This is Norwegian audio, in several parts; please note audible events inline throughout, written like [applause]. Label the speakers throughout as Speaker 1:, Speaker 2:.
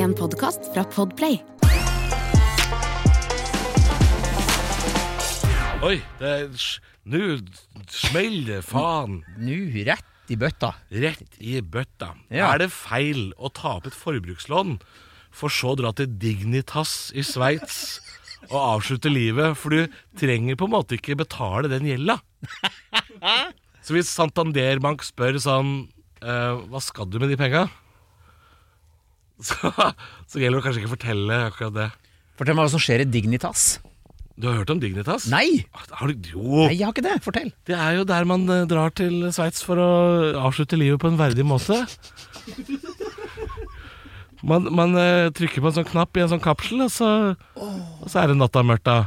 Speaker 1: En podkast fra Podplay.
Speaker 2: Oi, det s- Nå smeller det faen
Speaker 3: Nå rett i bøtta.
Speaker 2: rett i bøtta.
Speaker 3: Ja.
Speaker 2: Er det feil å ta opp et forbrukslån, for så å dra til Dignitas i Sveits og avslutte livet? For du trenger på en måte ikke betale den gjelda. Så hvis Santander Bank spør sånn eh, Hva skal du med de penga? Så, så gjelder det å kanskje ikke fortelle akkurat det.
Speaker 3: Fortell meg hva som skjer i Dignitas.
Speaker 2: Du har hørt om Dignitas?
Speaker 3: Nei!
Speaker 2: Har du, jo.
Speaker 3: Nei, jeg har ikke det. Fortell.
Speaker 2: Det er jo der man eh, drar til Sveits for å avslutte livet på en verdig måte. Man, man eh, trykker på en sånn knapp i en sånn kapsel, og så, og så er det natta mørkt da.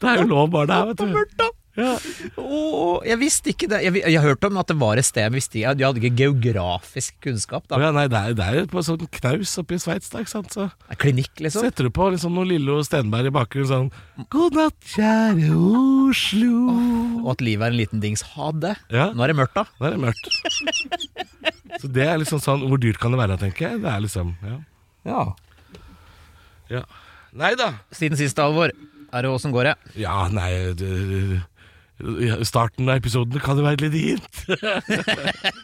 Speaker 2: Det er jo lov bare der, vet du.
Speaker 3: Mørta.
Speaker 2: Ja.
Speaker 3: Åh, jeg visste ikke det. Jeg, vi- jeg hørte om at det var et sted jeg visste ikke. Jeg hadde ikke geografisk kunnskap.
Speaker 2: Å
Speaker 3: da.
Speaker 2: Ja, nei, det er, det er jo på en sånn knaus oppe i Sveits, da, ikke sant? Så
Speaker 3: Klinikk, liksom.
Speaker 2: setter du på liksom noe Lillo Stenberg i bakgrunnen sånn God natt, kjære Oslo.
Speaker 3: Og at livet er en liten dings. Ha det.
Speaker 2: Ja.
Speaker 3: Nå er det mørkt, da.
Speaker 2: Da er det mørkt. Så det er liksom sånn Hvor dyrt kan det være, tenker jeg. Det er liksom Ja.
Speaker 3: Ja.
Speaker 2: ja. Nei da.
Speaker 3: Siden sist, Alvor. Er det åssen går det?
Speaker 2: Ja, nei det, det- Starten av episoden kan jo være litt hint.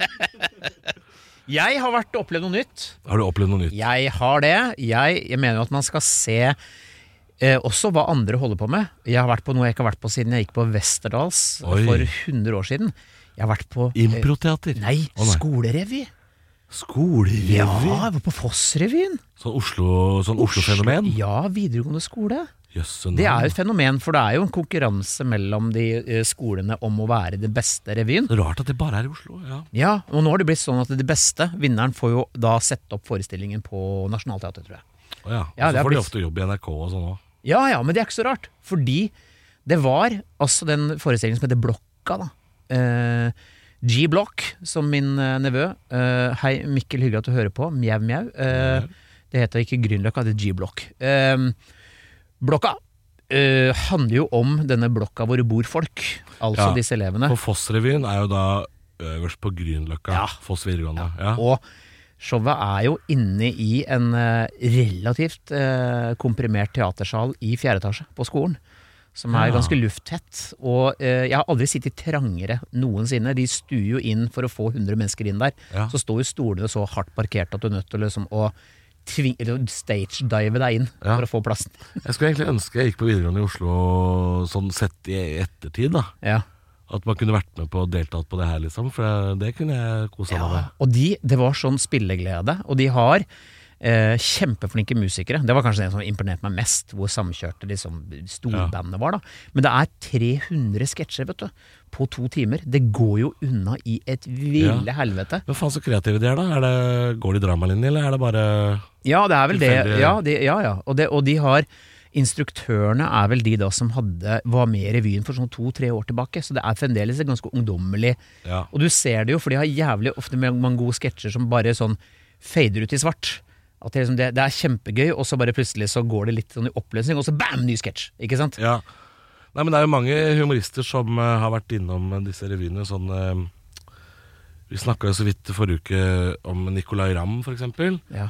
Speaker 3: Jeg har vært og opplevd noe nytt.
Speaker 2: Har du opplevd noe nytt?
Speaker 3: Jeg har det. Jeg, jeg mener jo at man skal se eh, også hva andre holder på med. Jeg har vært på noe jeg ikke har vært på siden jeg gikk på Westerdals
Speaker 2: Oi.
Speaker 3: for 100 år siden. Jeg har vært på eh,
Speaker 2: Improteater.
Speaker 3: Nei,
Speaker 2: Å, nei.
Speaker 3: skolerevy.
Speaker 2: Skolerevy.
Speaker 3: Ja, jeg var på Fossrevyen.
Speaker 2: Sånn Oslo- sånn Oslo-fenomen? Oslo
Speaker 3: Ja, videregående skole.
Speaker 2: Jøsse
Speaker 3: Det er jo
Speaker 2: navn.
Speaker 3: et fenomen, for det er jo en konkurranse mellom de eh, skolene om å være den beste revyen.
Speaker 2: Så Rart at det bare er i Oslo. Ja.
Speaker 3: Ja, og nå har det blitt sånn at de beste, vinneren, får jo da sette opp forestillingen på Nationaltheatret, tror jeg.
Speaker 2: Å, ja. Og så
Speaker 3: Ja, det er
Speaker 2: får de
Speaker 3: blitt-
Speaker 2: ofte jobb i NRK og sånn òg.
Speaker 3: Ja, ja, men det er ikke så rart. Fordi det var altså den forestillingen som heter Blokka, da. Eh, G-Block, som min eh, nevø. Eh, hei, Mikkel, hyggelig at du hører på. Mjau, mjau. Eh, det heter ikke Grünerløkka, det er G-Block. Eh, blokka eh, handler jo om denne blokka hvor det bor folk. Altså
Speaker 2: Ja.
Speaker 3: disse elevene.
Speaker 2: For Fossrevyen er jo da øverst på Grünerløkka.
Speaker 3: Ja.
Speaker 2: Foss videregående. Ja.
Speaker 3: Og showet er jo inne i en eh, relativt eh, komprimert teatersal i fjerde etasje på skolen. Som er
Speaker 2: Ja.
Speaker 3: ganske lufttett. Og eh, jeg har aldri sittet trangere noensinne. De stuer jo inn for å få 100 mennesker inn der.
Speaker 2: Ja.
Speaker 3: Så står jo stolene så hardt parkert at du er nødt til å liksom å tving- eller stage-dive deg inn
Speaker 2: Ja.
Speaker 3: for å få plassen. [laughs]
Speaker 2: Jeg skulle egentlig ønske jeg gikk på videregående i Oslo sånn sett i ettertid, da.
Speaker 3: Ja.
Speaker 2: At man kunne vært med på og deltatt på det her, liksom. For det kunne jeg kosa meg med.
Speaker 3: Og de, det var sånn spilleglede. Og de har eh, kjempeflinke musikere. Det var kanskje det som imponerte meg mest, hvor samkjørte liksom, storbandet var. da. Men det er 300 sketsjer vet du, på to timer. Det går jo unna i et ville
Speaker 2: Ja.
Speaker 3: helvete.
Speaker 2: Men faen så kreative de er, da. Er det, går de dramalinje, eller er det bare
Speaker 3: Ja, det er vel det.
Speaker 2: Tilfeldig-
Speaker 3: Ja, de, ja, ja. Og, det, og de har Instruktørene er vel de da som hadde, var med i revyen for sånn to-tre år tilbake, så det er fremdeles et ganske ungdommelig
Speaker 2: Ja.
Speaker 3: Og du ser det jo, for de har jævlig ofte med mange gode sketsjer som bare sånn fader ut i svart. At det, liksom, det, det er kjempegøy, og så bare plutselig så går det litt sånn i oppløsning, og så bam, ny sketsj! Ikke sant?
Speaker 2: ja. Nei, men det er jo mange humorister som eh, har vært innom eh, disse revyene. Sånn eh, Vi snakka jo så vidt forrige uke om Nicolay Ramm, for eksempel.
Speaker 3: Ja.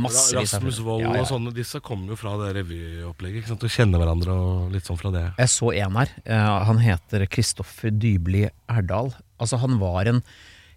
Speaker 3: Massevis av
Speaker 2: Rasmus Wold
Speaker 3: Ja, ja.
Speaker 2: og sånne. Disse kommer jo fra det revyopplegget. ikke sant? Og kjenner hverandre og litt sånn fra det.
Speaker 3: Jeg så en her. eh, Han heter Kristoffer Dybli Erdal. Altså, han var en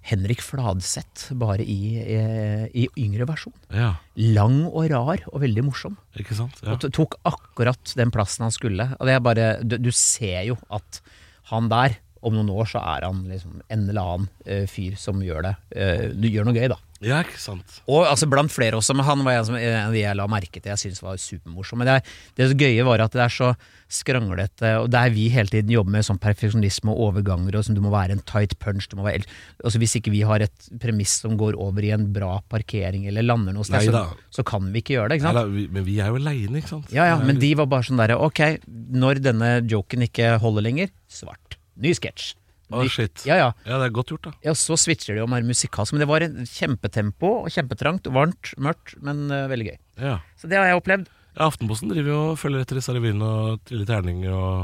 Speaker 3: Henrik Fladseth, bare i, eh, i yngre versjon.
Speaker 2: Ja,
Speaker 3: Lang og rar, og veldig morsom.
Speaker 2: ikke sant? Ja.
Speaker 3: Og t- tok akkurat den plassen han skulle. Og det er bare, du, du ser jo at han der, om noen år så er han liksom en eller annen eh, fyr som gjør det. eh, du gjør noe gøy, da.
Speaker 2: ja, ikke sant?
Speaker 3: Og altså blant flere også, men han var en som en av de jeg la merke til jeg syntes var supermorsom. Men det, er, det gøye var at det er så skranglete, og der vi hele tiden jobber med sånn perfeksjonisme og overganger, og sånn, du må være en tight punch, du må være el- altså Hvis ikke vi har et premiss som går over i en bra parkering eller lander noe sted, så,
Speaker 2: Neida.
Speaker 3: så kan vi ikke gjøre det. ikke sant?
Speaker 2: Eller, vi, men vi er jo aleine, ikke sant?
Speaker 3: Ja, ja,
Speaker 2: Det er
Speaker 3: men
Speaker 2: litt-
Speaker 3: de var bare sånn derre Ok, når denne joken ikke holder lenger, svart. Ny sketsj.
Speaker 2: Å,
Speaker 3: Ny-
Speaker 2: shit.
Speaker 3: Ja, ja.
Speaker 2: Ja, det er godt gjort, da.
Speaker 3: Ja, Så switcher de om her musikalsk. Men det var en kjempetempo, og kjempetrangt, varmt, mørkt, men eh, veldig gøy.
Speaker 2: Ja.
Speaker 3: Så det har jeg opplevd.
Speaker 2: Ja, Aftenposten driver jo og følger etter disse revyene og triller terninger og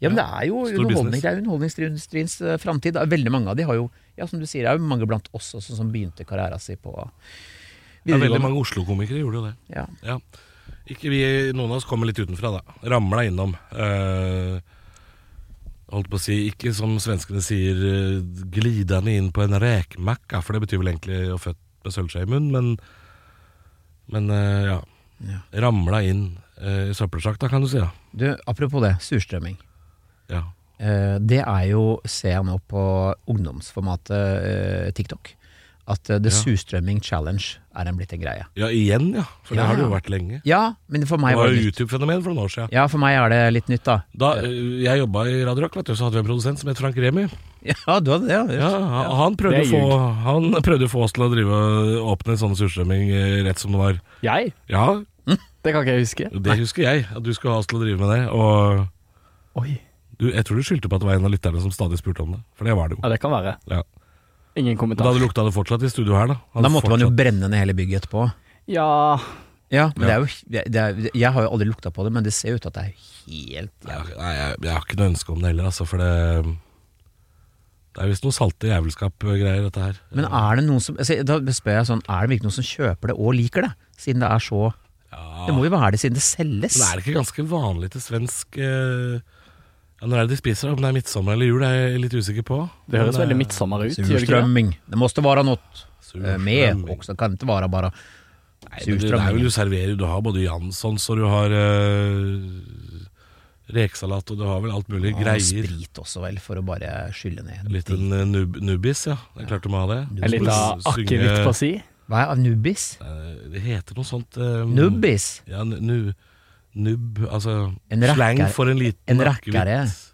Speaker 3: Ja, men det er jo
Speaker 2: stor
Speaker 3: underholdning.
Speaker 2: business.
Speaker 3: Det er jo underholdningsindustriens eh, framtid. Eh, Veldig mange av de har jo ja, som du sier, det er jo mange blant oss også som begynte karriera si på
Speaker 2: Det er veldig
Speaker 3: videregående.
Speaker 2: mange Oslo-komikere gjorde jo det.
Speaker 3: Ja.
Speaker 2: Ja. Ikke vi, noen av oss kommer litt utenfra, da. Ramla innom. Eh, holdt på å si, ikke som svenskene sier, eh, glidende inn på en rekmacka, for det betyr vel egentlig å født med sølvskje i munnen, men, men eh, ja.
Speaker 3: Ja.
Speaker 2: Ramla inn eh, i søppelsjakta, kan du si. da.
Speaker 3: Du, apropos det, surstrømming.
Speaker 2: Ja.
Speaker 3: Eh, det er jo, ser jeg nå på ungdomsformatet eh, TikTok, at eh, The
Speaker 2: Ja.
Speaker 3: Surstrømming Challenge er en blitt en greie.
Speaker 2: ja, igjen, ja. For
Speaker 3: Ja,
Speaker 2: det har det jo
Speaker 3: ja.
Speaker 2: vært lenge.
Speaker 3: Ja, men for meg
Speaker 2: Det var
Speaker 3: var
Speaker 2: jo
Speaker 3: det nytt.
Speaker 2: YouTube-fenomen for noen år siden.
Speaker 3: Ja, for meg er det litt nytt, da. [laughs]
Speaker 2: Da eh, jeg jobba i Radio Rock, vet du, så hadde vi en produsent som het Frank Remi.
Speaker 3: Ja, du hadde det,
Speaker 2: Ja, han, han, prøvde å
Speaker 1: Det er
Speaker 2: få, han [laughs] prøvde å få oss til å drive og åpne en sånn surstrømming eh, rett som det var.
Speaker 1: Jeg?
Speaker 2: Ja,
Speaker 1: Det kan ikke jeg huske.
Speaker 2: det husker jeg, at du skulle ha oss til å drive med det. Og
Speaker 1: Oi.
Speaker 2: du, jeg tror du skyldte på at det var en av lytterne som stadig spurte om det. For det var det jo.
Speaker 1: Ja, det kan være.
Speaker 2: Ja.
Speaker 1: Ingen
Speaker 2: Men Da
Speaker 1: kommentar.
Speaker 2: hadde lukta det fortsatt i studio her, da.
Speaker 3: Da måtte man jo brenne ned hele bygget etterpå.
Speaker 1: Ja
Speaker 3: Ja, men det er jo det er- det er, Jeg har jo aldri lukta på det, men det ser jo ut til at det er helt
Speaker 2: jeg, Nei, jeg, jeg har ikke noe ønske om det heller, altså, for det Det er visst noe salte jævelskap-greier, dette her.
Speaker 3: Men er det noen som altså, Da spør jeg sånn, er det virkelig noen som kjøper det og liker det? Siden det er så
Speaker 2: Ja.
Speaker 3: Det må jo være det siden det selges.
Speaker 2: Men er det ikke ganske vanlig til svensk eh, ja, Når er det de spiser? da? Om det er midtsommer eller jul, er jeg litt usikker på.
Speaker 1: Det høres
Speaker 2: Men,
Speaker 1: veldig
Speaker 2: eh,
Speaker 1: midtsommer ut. gjør det ikke det?
Speaker 3: Surstrømming. Det måste være noe eh, med
Speaker 2: surstrømming.
Speaker 3: også. Det kan ikke være bare
Speaker 2: Nei, men det, det er vel du
Speaker 3: surstrømming.
Speaker 2: serverer. Du har både Janssons og du har eh, rekesalat, og du har vel alt mulig
Speaker 3: Og
Speaker 2: greier.
Speaker 3: sprit også, vel, for å bare skylle ned.
Speaker 2: Litt en eh, nub nubbis, ja. Det er klart du må ha det.
Speaker 1: En liten
Speaker 2: Synge-
Speaker 1: akevitt på si.
Speaker 3: Hva er Nubis?
Speaker 2: Eh, Det heter noe sånt eh,
Speaker 3: Nubis?
Speaker 2: Ja, nu- nu, nubb Altså
Speaker 3: En rakker-
Speaker 2: slang for en liten
Speaker 3: en rakkere.
Speaker 2: akevitt.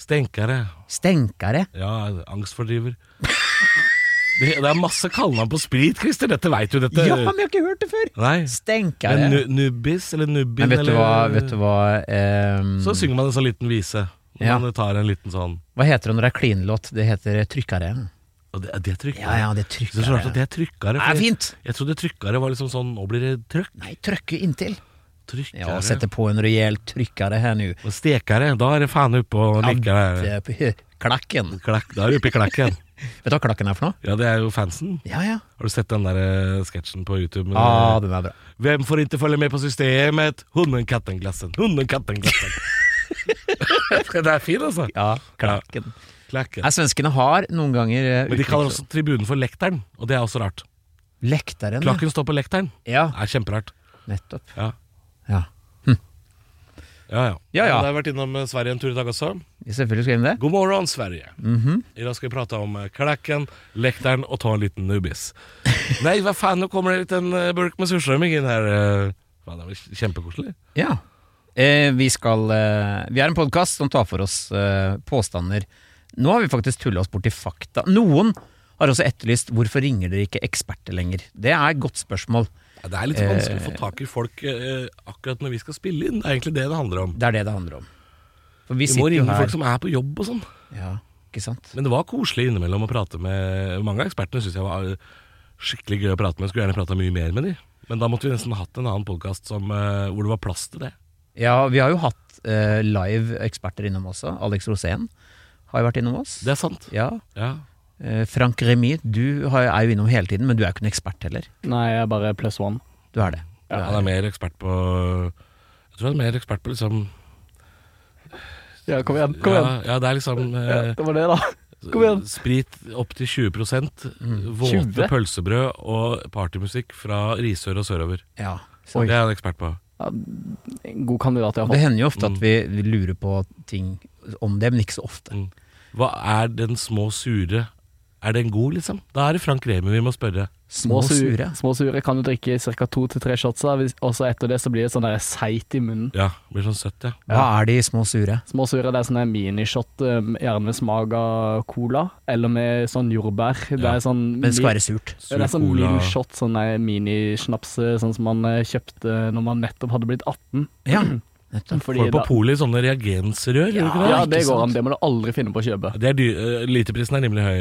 Speaker 2: Stenkere.
Speaker 3: Stenkere?
Speaker 2: Ja, angstfordriver. Det, det er masse kallenavn på sprit, Christer. Dette veit du, dette.
Speaker 3: Ja, men jeg har ikke hørt det før!
Speaker 2: Nei. Men nu,
Speaker 3: Stenkere.
Speaker 2: nubbis eller nubbin
Speaker 3: Men vet du
Speaker 2: eller
Speaker 3: hva, vet du hva ehm,
Speaker 2: Så synger man en sånn liten vise. Når
Speaker 3: Ja.
Speaker 2: Man tar en liten sånn
Speaker 3: Hva heter det når det er klinlåt? Det heter trykkere.
Speaker 2: Og det, det trykker
Speaker 3: Ja, ja, det
Speaker 2: Det er så rart
Speaker 3: trykkere.
Speaker 2: at det er trykkere.
Speaker 3: Det
Speaker 2: for
Speaker 3: er
Speaker 2: jeg,
Speaker 3: fint!
Speaker 2: jeg trodde trykkere var liksom sånn Nå blir det trøkk.
Speaker 3: Nei, trykke inntil.
Speaker 2: Trykkere.
Speaker 3: Ja, sette på en rejäl trykkere her nå.
Speaker 2: Og stekere, da er det faen oppe og
Speaker 3: Ja,
Speaker 2: nikker der.
Speaker 3: det er på- [laughs] Klakken.
Speaker 2: Klakk, da er du oppe i klakken.
Speaker 3: Vet du hva klakken er for noe?
Speaker 2: Ja, det er jo fansen.
Speaker 3: Ja, ja.
Speaker 2: Har du sett den der eh, sketsjen på YouTube? med-
Speaker 3: Ah, den er bra.
Speaker 2: Hvem får ikke følge med på systemet? Hunden, katten, glassen. Hunden, katten, glassen. [laughs] det er fin, altså.
Speaker 3: Ja, klakken.
Speaker 2: Klakken.
Speaker 3: Nei, svenskene har noen ganger eh,
Speaker 2: Men de kaller
Speaker 3: uttrykk-
Speaker 2: også tribunen for lekteren, og det er også rart.
Speaker 3: Lekteren. ja.
Speaker 2: Klakken står på lekteren.
Speaker 3: Ja,
Speaker 2: Det er kjemperart.
Speaker 3: nettopp.
Speaker 2: Ja.
Speaker 3: Ja.
Speaker 2: Ja, ja.
Speaker 3: Ja, ja.
Speaker 2: Jeg har vært innom eh, Sverige en tur i dag også.
Speaker 3: Selvfølgelig skal vi inn det.
Speaker 2: God morgon, Sverige. I dag skal vi prate om eh, klacken, lekteren og ta en liten nubis. [laughs] Nei, hva faen, nå kommer det en liten eh, burk med surstrømming inn her. eh. Faen, det var kjempekoselig.
Speaker 3: Ja. Eh, vi skal eh, Vi er en podkast som tar for oss eh, påstander. Nå har vi faktisk tulla oss bort i fakta. Noen har også etterlyst hvorfor ringer dere ikke eksperter lenger. Det er et godt spørsmål.
Speaker 2: Ja, det er litt vanskelig å få tak i folk eh, akkurat når vi skal spille inn. Det er egentlig det det handler om.
Speaker 3: Det er det det handler om. For vi
Speaker 2: Vi må
Speaker 3: sitter jo
Speaker 2: ringe
Speaker 3: her
Speaker 2: folk som er på jobb og sånn.
Speaker 3: Ja, ikke sant?
Speaker 2: Men det var koselig innimellom å prate med Mange av ekspertene syns jeg var eh, skikkelig gøy å prate med. Jeg skulle gjerne prata mye mer med de. Men da måtte vi nesten hatt en annen podkast hvor det var plass til det.
Speaker 3: Ja, vi har jo hatt eh, live eksperter innom også. Alex Rosén har jo vært innom oss.
Speaker 2: Det er sant.
Speaker 3: Ja.
Speaker 2: Ja.
Speaker 3: Eh, Frank Remy, du har, er jo innom hele tiden, men du er jo ikke noen ekspert heller.
Speaker 1: Nei, jeg er bare plus one.
Speaker 3: Du er det. Du
Speaker 2: Han
Speaker 3: er,
Speaker 2: er mer ekspert på Jeg tror han er mer ekspert på liksom
Speaker 1: Ja, kom igjen. Kom
Speaker 2: ja,
Speaker 1: igjen.
Speaker 2: ja, det er liksom
Speaker 1: Ja,
Speaker 2: eh,
Speaker 1: det var det, da. kom igjen.
Speaker 2: Sprit opp til 20 våte
Speaker 1: 20?
Speaker 2: pølsebrød og partymusikk fra Risør og sørover.
Speaker 3: ja.
Speaker 2: Så
Speaker 1: Oi.
Speaker 2: Det er han ekspert på.
Speaker 1: En god kandidat,
Speaker 3: Det
Speaker 1: iallfall.
Speaker 3: hender jo ofte at vi vi lurer på ting om det, men ikke så ofte.
Speaker 2: Mm. Hva er den små sure Er den god, liksom? Da er det Frank Remi vi må spørre.
Speaker 3: Små sure.
Speaker 1: Små sure kan du drikke ca. to til tre shots av, hvis- og så etter det så blir det sånn der seigt i munnen.
Speaker 2: Ja, blir sånn søtt, ja.
Speaker 3: Hva er de små sure?
Speaker 1: Små sure det er sånn en minishot, um, gjerne med smak av cola, eller med sånn jordbær. Det
Speaker 2: Ja.
Speaker 1: er sånn
Speaker 3: Men det skal være surt.
Speaker 1: Ja, det er sånn
Speaker 2: Surcola.
Speaker 1: mild shot, sånn der minisnaps eh, sånn som man eh, kjøpte når man nettopp hadde blitt 18.
Speaker 3: Ja, nettopp.
Speaker 1: Fordi
Speaker 2: Får du på
Speaker 1: da-
Speaker 2: polet i sånne reagensrør? gjør du ikke det?
Speaker 1: ja,
Speaker 3: ikke
Speaker 1: det går
Speaker 3: sant?
Speaker 1: an. Det må du aldri finne på å kjøpe.
Speaker 2: Det er dy eh, literprisen er rimelig høy.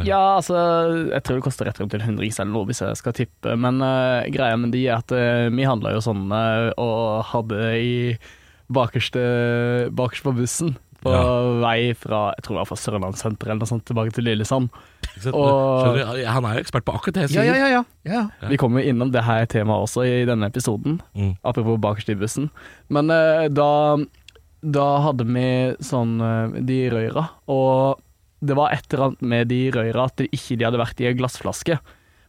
Speaker 2: eh.
Speaker 1: Ja, altså, jeg tror det koster rett rundt en hundrings eller noe, hvis jeg skal tippe. Men eh, greia med de er at eh, vi handla jo sånn eh, og hadde i bakerste, bakerst på bussen på vei fra jeg tror det var fra Sørlandssenteret eller noe sånt tilbake til Lillesand.
Speaker 2: Ikke sant?
Speaker 1: Og-
Speaker 2: Skjønner du? Han er jo ekspert på akkurat det jeg
Speaker 3: Ja,
Speaker 2: sier.
Speaker 3: ja, ja. ja. ja.
Speaker 1: Vi kommer jo innom det her temaet også i denne episoden,
Speaker 2: Mm.
Speaker 1: apropos bakerst i bussen. Men eh, da, da hadde vi sånn eh, de røyra, og det var et eller annet med de røyra at de ikke de hadde vært i en glassflaske,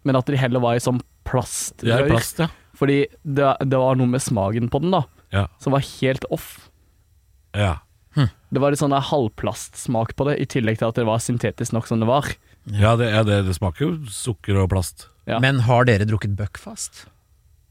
Speaker 1: men at de heller var i sånn
Speaker 2: Det er
Speaker 1: plastrør.
Speaker 2: plast, ja.
Speaker 1: Fordi det, det var noe med smaken på den da,
Speaker 2: Ja.
Speaker 1: som var helt off.
Speaker 2: ja.
Speaker 1: Det var litt sånn der halvplastsmak på det, i tillegg til at det var syntetisk nok som det var.
Speaker 2: ja, det, ja det, det smaker jo sukker og plast.
Speaker 1: Ja.
Speaker 3: Men har dere drukket Buckfast?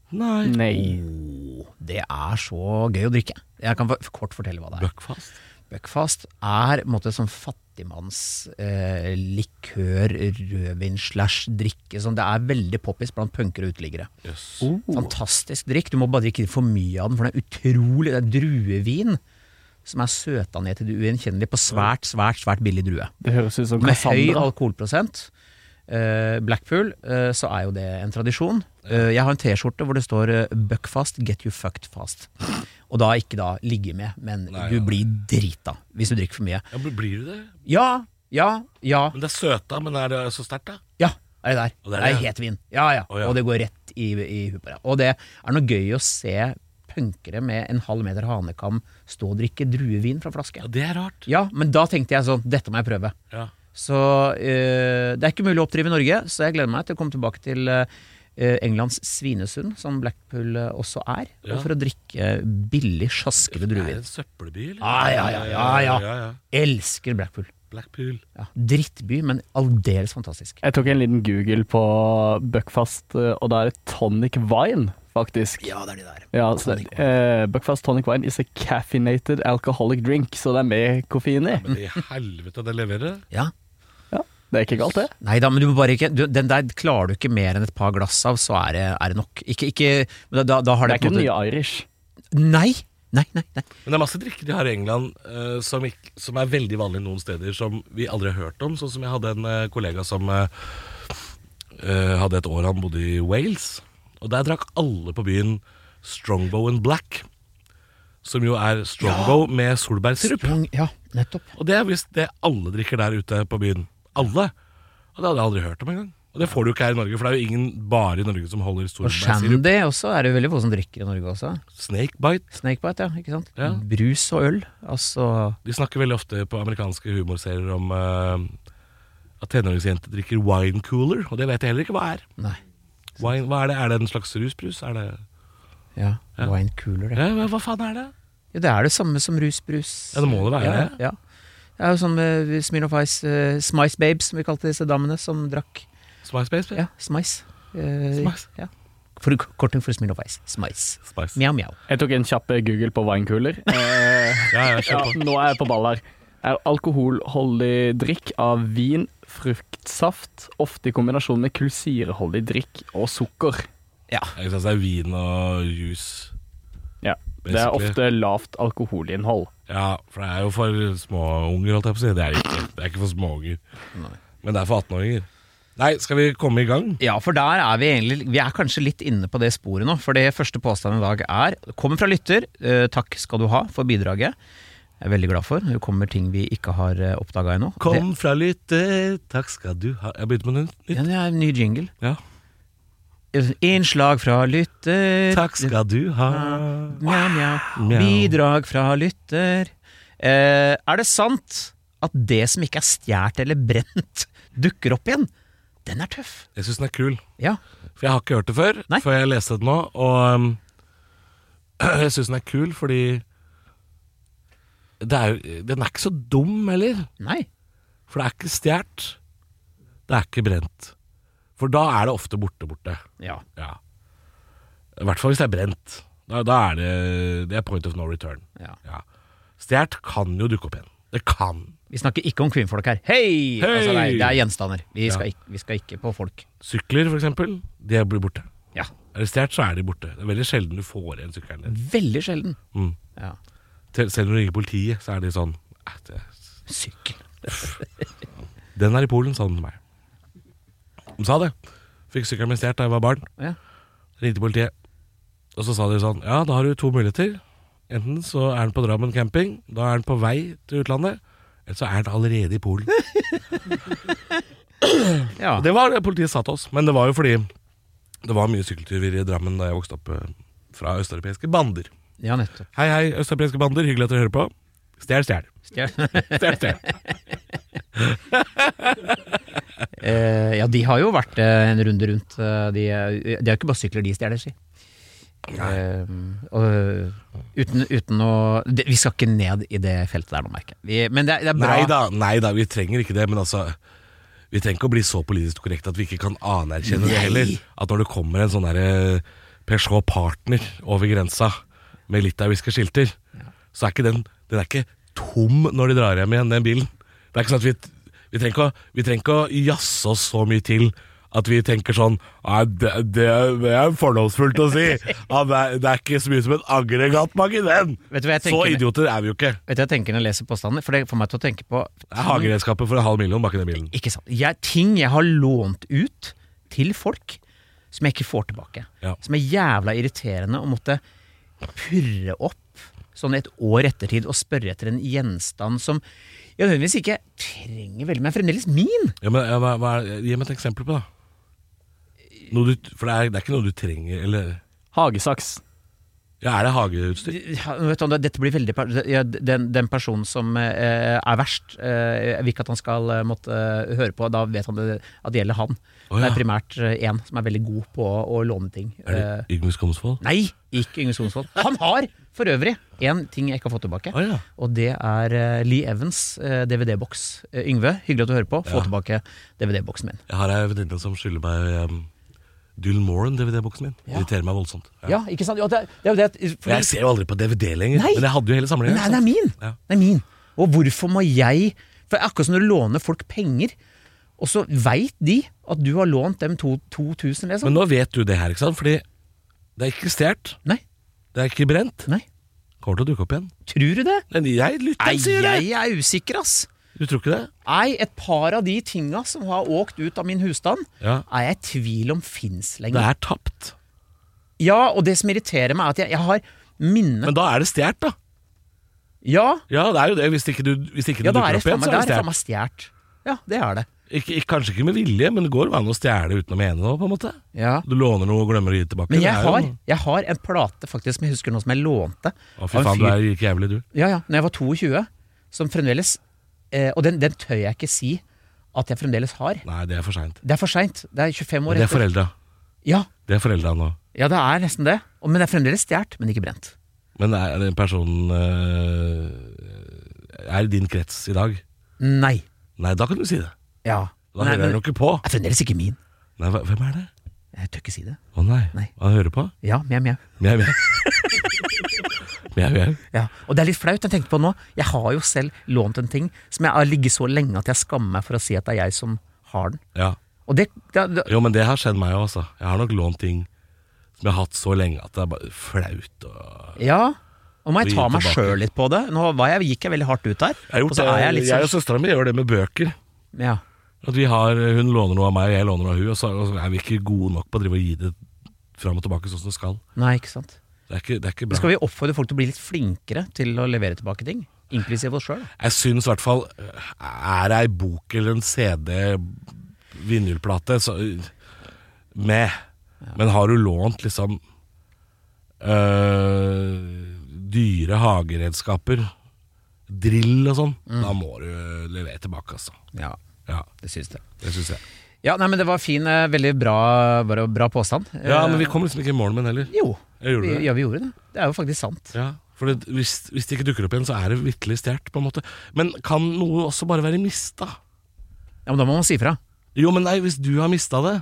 Speaker 2: Nei.
Speaker 1: Nei.
Speaker 3: Oh, det er så gøy å drikke. Jeg kan for- kort fortelle hva det er.
Speaker 2: Buckfast.
Speaker 3: Buckfast er på en måte sånn fattigmanns eh, likør, rødvin slash drikke. Sånn. Det er veldig poppis blant punkere og uteliggere.
Speaker 2: Yes.
Speaker 3: Fantastisk drikk. Du må bare drikke for mye av den, for den er utrolig Det er druevin som er søta ned til det ugjenkjennelige på svært, svært, svært billig drue.
Speaker 1: Det høres ut som
Speaker 3: Med høy
Speaker 1: Cassandra.
Speaker 3: alkoholprosent. eh, Blackpool, eh, så er jo det en tradisjon. Eh, jeg har en T-skjorte hvor det står eh, 'Buck fast, get you fucked fast'. Og da ikke da ligge med, men
Speaker 2: Nei,
Speaker 3: du
Speaker 2: ja.
Speaker 3: blir drita hvis du drikker for mye.
Speaker 2: Ja, men blir du det?
Speaker 3: Ja, ja, ja,
Speaker 2: Men det er søta, men er det så sterkt, da?
Speaker 3: ja. Er det der?
Speaker 2: Og det er
Speaker 3: det er
Speaker 2: det.
Speaker 3: het vin. Ja, ja.
Speaker 2: Å, ja.
Speaker 3: Og det går rett i, i huet på deg. Og det er noe gøy å se punkere med en halv meter hanekam stå og drikke druevin fra flaske.
Speaker 2: Ja, det er rart.
Speaker 3: Ja, men da tenkte jeg sånn, dette må jeg prøve.
Speaker 2: Ja.
Speaker 3: Så eh, det er ikke mulig å oppdrive i Norge, så jeg gleder meg til å komme tilbake til eh, Englands Svinesund, som Blackpool eh, også er,
Speaker 2: Ja.
Speaker 3: og for å drikke billig, sjaskete
Speaker 2: Er det
Speaker 3: druevin.
Speaker 2: en søppelby, eller?
Speaker 3: Ah, ja, ja, ja, ja.
Speaker 2: ja, ja.
Speaker 3: Elsker Blackpool.
Speaker 2: Blackpool.
Speaker 3: Ja, drittby, men aldeles fantastisk.
Speaker 1: Jeg tok en liten Google på Buckfast, eh, og da er det tonic wine, faktisk.
Speaker 3: Ja, det er de der.
Speaker 1: Ja, så,
Speaker 3: Tonic
Speaker 1: eh, Buckfast tonic wine is a caffeinated alcoholic drink, så det er mer koffein i.
Speaker 2: Men i helvete, det leverer.
Speaker 3: Ja.
Speaker 1: Ja, det er ikke galt, det.
Speaker 3: Nei da, men du må bare ikke du, Den der klarer du ikke mer enn et par glass av, så er det, er det nok. Ikke, ikke men da, da, da har
Speaker 1: Det
Speaker 3: det
Speaker 1: er ikke
Speaker 3: på en måte-
Speaker 1: den nye Irish.
Speaker 3: Nei! Nei, nei, nei.
Speaker 2: Men det er masse drikker de har i England eh, som, ikk- som er veldig vanlige noen steder, som vi aldri har hørt om. Sånn som jeg hadde en eh, kollega som eh, eh, hadde et år han bodde i Wales. Og der drakk alle på byen Strongbow and Black. Som jo er Strongbow med solbærsirup.
Speaker 3: Sprung- Ja, nettopp.
Speaker 2: Og det er visst det alle drikker der ute på byen. Alle. Og det hadde jeg aldri hørt om engang. Og det får du ikke her i Norge, for det er jo ingen bare i Norge som holder
Speaker 3: Og
Speaker 2: solbærsirup.
Speaker 3: shandy også er det veldig få som drikker i Norge også.
Speaker 2: Snakebite.
Speaker 3: Snakebite, ja. ikke sant?
Speaker 2: Ja.
Speaker 3: Brus og øl. Altså
Speaker 2: De snakker veldig ofte på amerikanske humorserier om eh, at tenåringsjenter drikker wine cooler, og det vet jeg heller ikke hva er.
Speaker 3: Nei.
Speaker 2: Wine, hva Er det Er det en slags rusbrus? Er det
Speaker 3: Ja, wine cooler, det.
Speaker 2: ja, hva- Hva faen er det?
Speaker 3: Ja, det er det samme som rusbrus.
Speaker 2: Ja, det må det være,
Speaker 3: Ja,
Speaker 2: det.
Speaker 3: ja. Det er jo sånn med Smirnoff Ice, eh, Smice Babes, som vi kalte disse damene, som drakk
Speaker 2: Spice Baby?
Speaker 3: ja, Smice. Eh,
Speaker 2: Smice.
Speaker 3: Ja. For, korting for Smirnoff Ice. Smice.
Speaker 2: Spice.
Speaker 3: Mjau, mjau.
Speaker 1: Jeg tok en kjapp eh, Google på vinekuler. Eh,
Speaker 2: Ja, ja,
Speaker 1: ja,
Speaker 2: kjør på.
Speaker 1: nå er jeg på ball her. Er alkoholholdig drikk av vin, fruktsaft, ofte i kombinasjon med kullsyreholdig drikk og sukker.
Speaker 3: Ja.
Speaker 2: Jeg synes det er vin og juice.
Speaker 1: Ja, det er
Speaker 2: Basically.
Speaker 1: ofte lavt alkoholinnhold.
Speaker 2: Ja, for det er jo for småunger, holdt jeg på å si. Det er jo ikke, det er ikke for småunger. Men det er for 18-åringer. Nei, skal vi komme i gang?
Speaker 3: Ja, for der er vi egentlig Vi er kanskje litt inne på det sporet nå. For det første påstanden i dag er Kommer fra lytter. Eh, takk skal du ha for bidraget. Jeg er veldig glad for. Det kommer ting vi ikke har eh, oppdaga ennå.
Speaker 2: Kom fra lytter, takk skal du ha Jeg begynte med nytt.
Speaker 3: Det, ja, det er en ny jingle.
Speaker 2: Ja.
Speaker 3: Innslag fra lytter.
Speaker 2: Takk skal du ha.
Speaker 3: Mjau, mjau.
Speaker 2: Mjau.
Speaker 3: Bidrag fra lytter. Eh, er det sant at det som ikke er stjålet eller brent, dukker opp igjen? Den er tøff.
Speaker 2: Jeg syns den er kul.
Speaker 3: Ja.
Speaker 2: For jeg har ikke hørt det før,
Speaker 3: Nei.
Speaker 2: før jeg leste det nå. Og um, [clears throat] jeg syns den er kul fordi det er, jo- Den er ikke så dum heller.
Speaker 3: Nei.
Speaker 2: For det er ikke stjålet. Det er ikke brent. For da er det ofte borte, borte.
Speaker 3: Ja.
Speaker 2: Ja. I hvert fall hvis det er brent. Da, da er det, det er point of no return.
Speaker 3: ja.
Speaker 2: Ja. Stjålet kan jo dukke opp igjen. Det kan.
Speaker 3: Vi snakker ikke om kvinnfolk her. Hei! Altså, nei, det er gjenstander. Vi
Speaker 2: Ja.
Speaker 3: skal, ikke, vi skal ikke på folk.
Speaker 2: Sykler, for eksempel, de blir borte.
Speaker 3: Ja.
Speaker 2: Er det stjålet, så er de borte. Det er veldig sjelden du får igjen sykkelen din.
Speaker 3: Veldig sjelden.
Speaker 2: Mm.
Speaker 3: Ja.
Speaker 2: Til- Selv når du ringer politiet, så er de sånn "Eh, det,
Speaker 3: Sykkel.
Speaker 2: Den er i Polen, sa han til meg. De sa det. Fikk sykkelen min stjålet da jeg var barn.
Speaker 3: Ja.
Speaker 2: Ringte politiet. Og så sa de sånn Ja, da har du to muligheter. Enten så er den på Drammen camping, da er den på vei til utlandet. Eller så er den allerede i Polen.
Speaker 3: Ja.
Speaker 2: Og Det var det politiet sa til oss, men det var jo fordi det var mye sykkeltyver i Drammen da jeg vokste opp eh, fra østeuropeiske bander.
Speaker 3: ja, nettopp.
Speaker 2: Hei, hei, østeuropeiske bander, hyggelig at dere hører på. Stjel, stjel. Stjel, stjel.
Speaker 3: [laughs] Eh, ja, de har jo vært eh, en runde rundt. eh, De, eh, de er jo ikke bare sykler, de stjeler, si. Eh, og, eh, uten, uten å det, Vi skal ikke ned i det feltet der nå, merker jeg. Vi- Men det, er- det er bra.
Speaker 2: Nei da, nei da, vi trenger ikke det, men altså Vi trenger ikke å bli så politisk korrekte at vi ikke kan anerkjenne det heller. At når det kommer en sånn derre Peugeot Partner over grensa med litauiske skilter, så er ikke den Den er ikke tom når de drar hjem igjen, den bilen. Det er ikke sånn at vi Vi trenger ikke å, vi trenger ikke å jazze oss så mye til. At vi tenker sånn Nei, det, det, er- det er fordomsfullt
Speaker 3: [laughs]
Speaker 2: å si. Ja, det, er, det er ikke så mye som en aggregatmage, den.
Speaker 3: Vet du hva jeg
Speaker 2: Så
Speaker 3: tenker?
Speaker 2: idioter er vi jo ikke.
Speaker 3: Vet du hva jeg tenker når jeg leser påstandene? For det får meg til å tenke på
Speaker 2: Det er hageredskapet for en halv million bak i den bilen.
Speaker 3: Ikke sant. Jeg, ting jeg har lånt ut til folk som jeg ikke får tilbake.
Speaker 2: Ja.
Speaker 3: Som er jævla irriterende å måtte purre opp sånn et år ettertid og spørre etter en gjenstand som jeg nødvendigvis ikke trenger veldig, men er fremdeles min.
Speaker 2: Ja, men ja, hva, hva er, Gi meg et eksempel på det. da. Noe du, for det er, det er ikke noe du trenger eller
Speaker 1: Hagesaks.
Speaker 2: ja, Er det hageutstyr?
Speaker 3: Ja, vet du, hva, dette blir veldig per- ja, den, den personen som eh, er verst, eh, jeg vil ikke at han skal eh, måtte eh, høre på. Da vet han det, at det gjelder han.
Speaker 2: Å,
Speaker 3: Det
Speaker 2: ja.
Speaker 3: er primært én som er veldig god på å, å låne ting.
Speaker 2: Er
Speaker 3: Eh,
Speaker 2: det Yngve Skomsvold?
Speaker 3: Nei, ikke Yngve Sonsvold. Han har for øvrig én ting jeg ikke har fått tilbake.
Speaker 2: Å ja.
Speaker 3: Og det er eh, Lee Evans' eh, DVD-boks. Eh, Yngve, hyggelig at du hører på. Få tilbake DVD-boksen min.
Speaker 2: Jeg har ei venninne som skylder meg um, Moran, DVD-boksen min.
Speaker 3: Ja.
Speaker 2: Irriterer meg voldsomt. Ja.
Speaker 3: Ja, ikke sant? Ja, det, er- det er jo det at-
Speaker 2: For
Speaker 3: fordi,
Speaker 2: jeg ser jo aldri på DVD lenger.
Speaker 3: Nei.
Speaker 2: Men jeg hadde jo hele samlingen.
Speaker 3: Nei, det altså. er min!
Speaker 2: Ja.
Speaker 3: Det er min. Og hvorfor må jeg For det er akkurat som du låner folk penger, og så veit de at du har lånt dem to- 2000, liksom.
Speaker 2: Men nå vet du det her, ikke sant? Fordi det er ikke stjålet.
Speaker 3: Nei.
Speaker 2: Det er ikke brent.
Speaker 3: Nei.
Speaker 2: Kommer til å dukke opp igjen.
Speaker 3: Tror du det?
Speaker 2: Men jeg lytter,
Speaker 3: Nei,
Speaker 2: sier jeg!
Speaker 3: jeg er usikker, ass.
Speaker 2: Du tror ikke det?
Speaker 3: Nei, et par av de tinga som har åkt ut av min husstand,
Speaker 2: Ja.
Speaker 3: er jeg i tvil om fins
Speaker 2: Det
Speaker 3: lenger.
Speaker 2: er tapt.
Speaker 3: Ja, og det som irriterer meg, er at jeg, jeg har minne
Speaker 2: Men da er det stjålet, da.
Speaker 3: Ja,
Speaker 2: Ja, det er jo det. Hvis ikke du, hvis ikke
Speaker 3: ja
Speaker 2: det
Speaker 3: da er
Speaker 2: dukker
Speaker 3: det
Speaker 2: opp
Speaker 3: faen
Speaker 2: igjen,
Speaker 3: meg
Speaker 2: så er det
Speaker 3: der,
Speaker 2: stjålet.
Speaker 3: faen meg stjålet. Ja, det er det.
Speaker 2: Ikke, ikke, kanskje ikke med vilje, men det går jo an å stjele uten å mene det. på en måte
Speaker 3: Ja.
Speaker 2: Du låner noe og glemmer å gi det tilbake.
Speaker 3: Men
Speaker 2: Det
Speaker 3: jeg
Speaker 2: er jo-
Speaker 3: har, jeg har en plate, faktisk, som jeg husker nå, som jeg lånte.
Speaker 2: Å,
Speaker 3: av
Speaker 2: fy
Speaker 3: en
Speaker 2: faen,
Speaker 3: fyr-
Speaker 2: du er like jævlig, du.
Speaker 3: Ja, ja, når jeg var 22, som fremdeles eh, Og den, den tør jeg ikke si at jeg fremdeles har.
Speaker 2: Nei, det er for seint.
Speaker 3: Det er for seint. Det er 25 år
Speaker 2: Det er foreldra.
Speaker 3: Ja,
Speaker 2: Det er foreldra nå.
Speaker 3: ja, det er nesten det. Og- Men det er fremdeles stjålet, men ikke brent.
Speaker 2: Men er den personen øh, Er i din krets i dag?
Speaker 3: Nei.
Speaker 2: Nei, da kan du si det.
Speaker 3: Ja.
Speaker 2: Da
Speaker 3: Nei,
Speaker 2: hører
Speaker 3: men
Speaker 2: han jo ikke på.
Speaker 3: er fremdeles ikke min.
Speaker 2: Nei, hva- Hvem er det?
Speaker 3: Jeg tør ikke si det.
Speaker 2: Å nei.
Speaker 3: Nei.
Speaker 2: Han hører på?
Speaker 3: Ja, mjau, mjau.
Speaker 2: Mjau,
Speaker 3: [laughs]
Speaker 2: mjau. Mjau, mjau.
Speaker 3: Ja. Og det er litt flaut, jeg tenkte på nå. Jeg har jo selv lånt en ting som jeg har ligget så lenge at jeg skammer meg for å si at det er jeg som har den.
Speaker 2: Ja.
Speaker 3: Og det, da- da-
Speaker 2: Jo, men det har skjedd meg òg, altså. Jeg har nok lånt ting som jeg har hatt så lenge at det er bare flaut. Og
Speaker 3: Ja. Nå må jeg
Speaker 2: Vi
Speaker 3: ta
Speaker 2: gir
Speaker 3: meg
Speaker 2: tilbake.
Speaker 3: sjøl litt på det. Nå var jeg, gikk jeg veldig hardt ut der.
Speaker 2: Jeg, har
Speaker 3: og
Speaker 2: gjort
Speaker 3: så
Speaker 2: det.
Speaker 3: er jeg litt
Speaker 2: jeg og
Speaker 3: sånn
Speaker 2: søstera mi gjør det med bøker.
Speaker 3: ja.
Speaker 2: At vi har, Hun låner noe av meg, og jeg låner noe av hun og så og så er vi ikke gode nok på å drive og gi det fram og tilbake sånn som det skal.
Speaker 3: Nei, ikke sant.
Speaker 2: Det er ikke, det er ikke
Speaker 3: Da
Speaker 2: bra.
Speaker 3: skal vi oppfordre folk til å bli litt flinkere til å levere tilbake ting. Inklusiv oss sjøl.
Speaker 2: Jeg syns i hvert fall øh, Er det ei bok eller en CD, vinylplate, så øh, Med. Men har du lånt liksom øh, Dyre hageredskaper, drill og sånn,
Speaker 3: Mm.
Speaker 2: da må du levere tilbake, altså.
Speaker 3: Ja,
Speaker 2: Ja,
Speaker 3: det syns jeg.
Speaker 2: det syns jeg.
Speaker 3: Ja, nei, men det var fin, eh, veldig bra, bra, bra påstand.
Speaker 2: Ja,
Speaker 3: Eh,
Speaker 2: men vi kom liksom ikke i mål med den heller.
Speaker 3: Jo.
Speaker 2: Jeg gjorde
Speaker 3: vi,
Speaker 2: det.
Speaker 3: Ja, vi gjorde det. Det er jo faktisk sant.
Speaker 2: Ja, for det, hvis, hvis det ikke dukker opp igjen, så er det vitterlig stjålet, på en måte. Men kan noe også bare være mista?
Speaker 3: Ja, men da må man si ifra.
Speaker 2: Jo, men nei, hvis du har mista det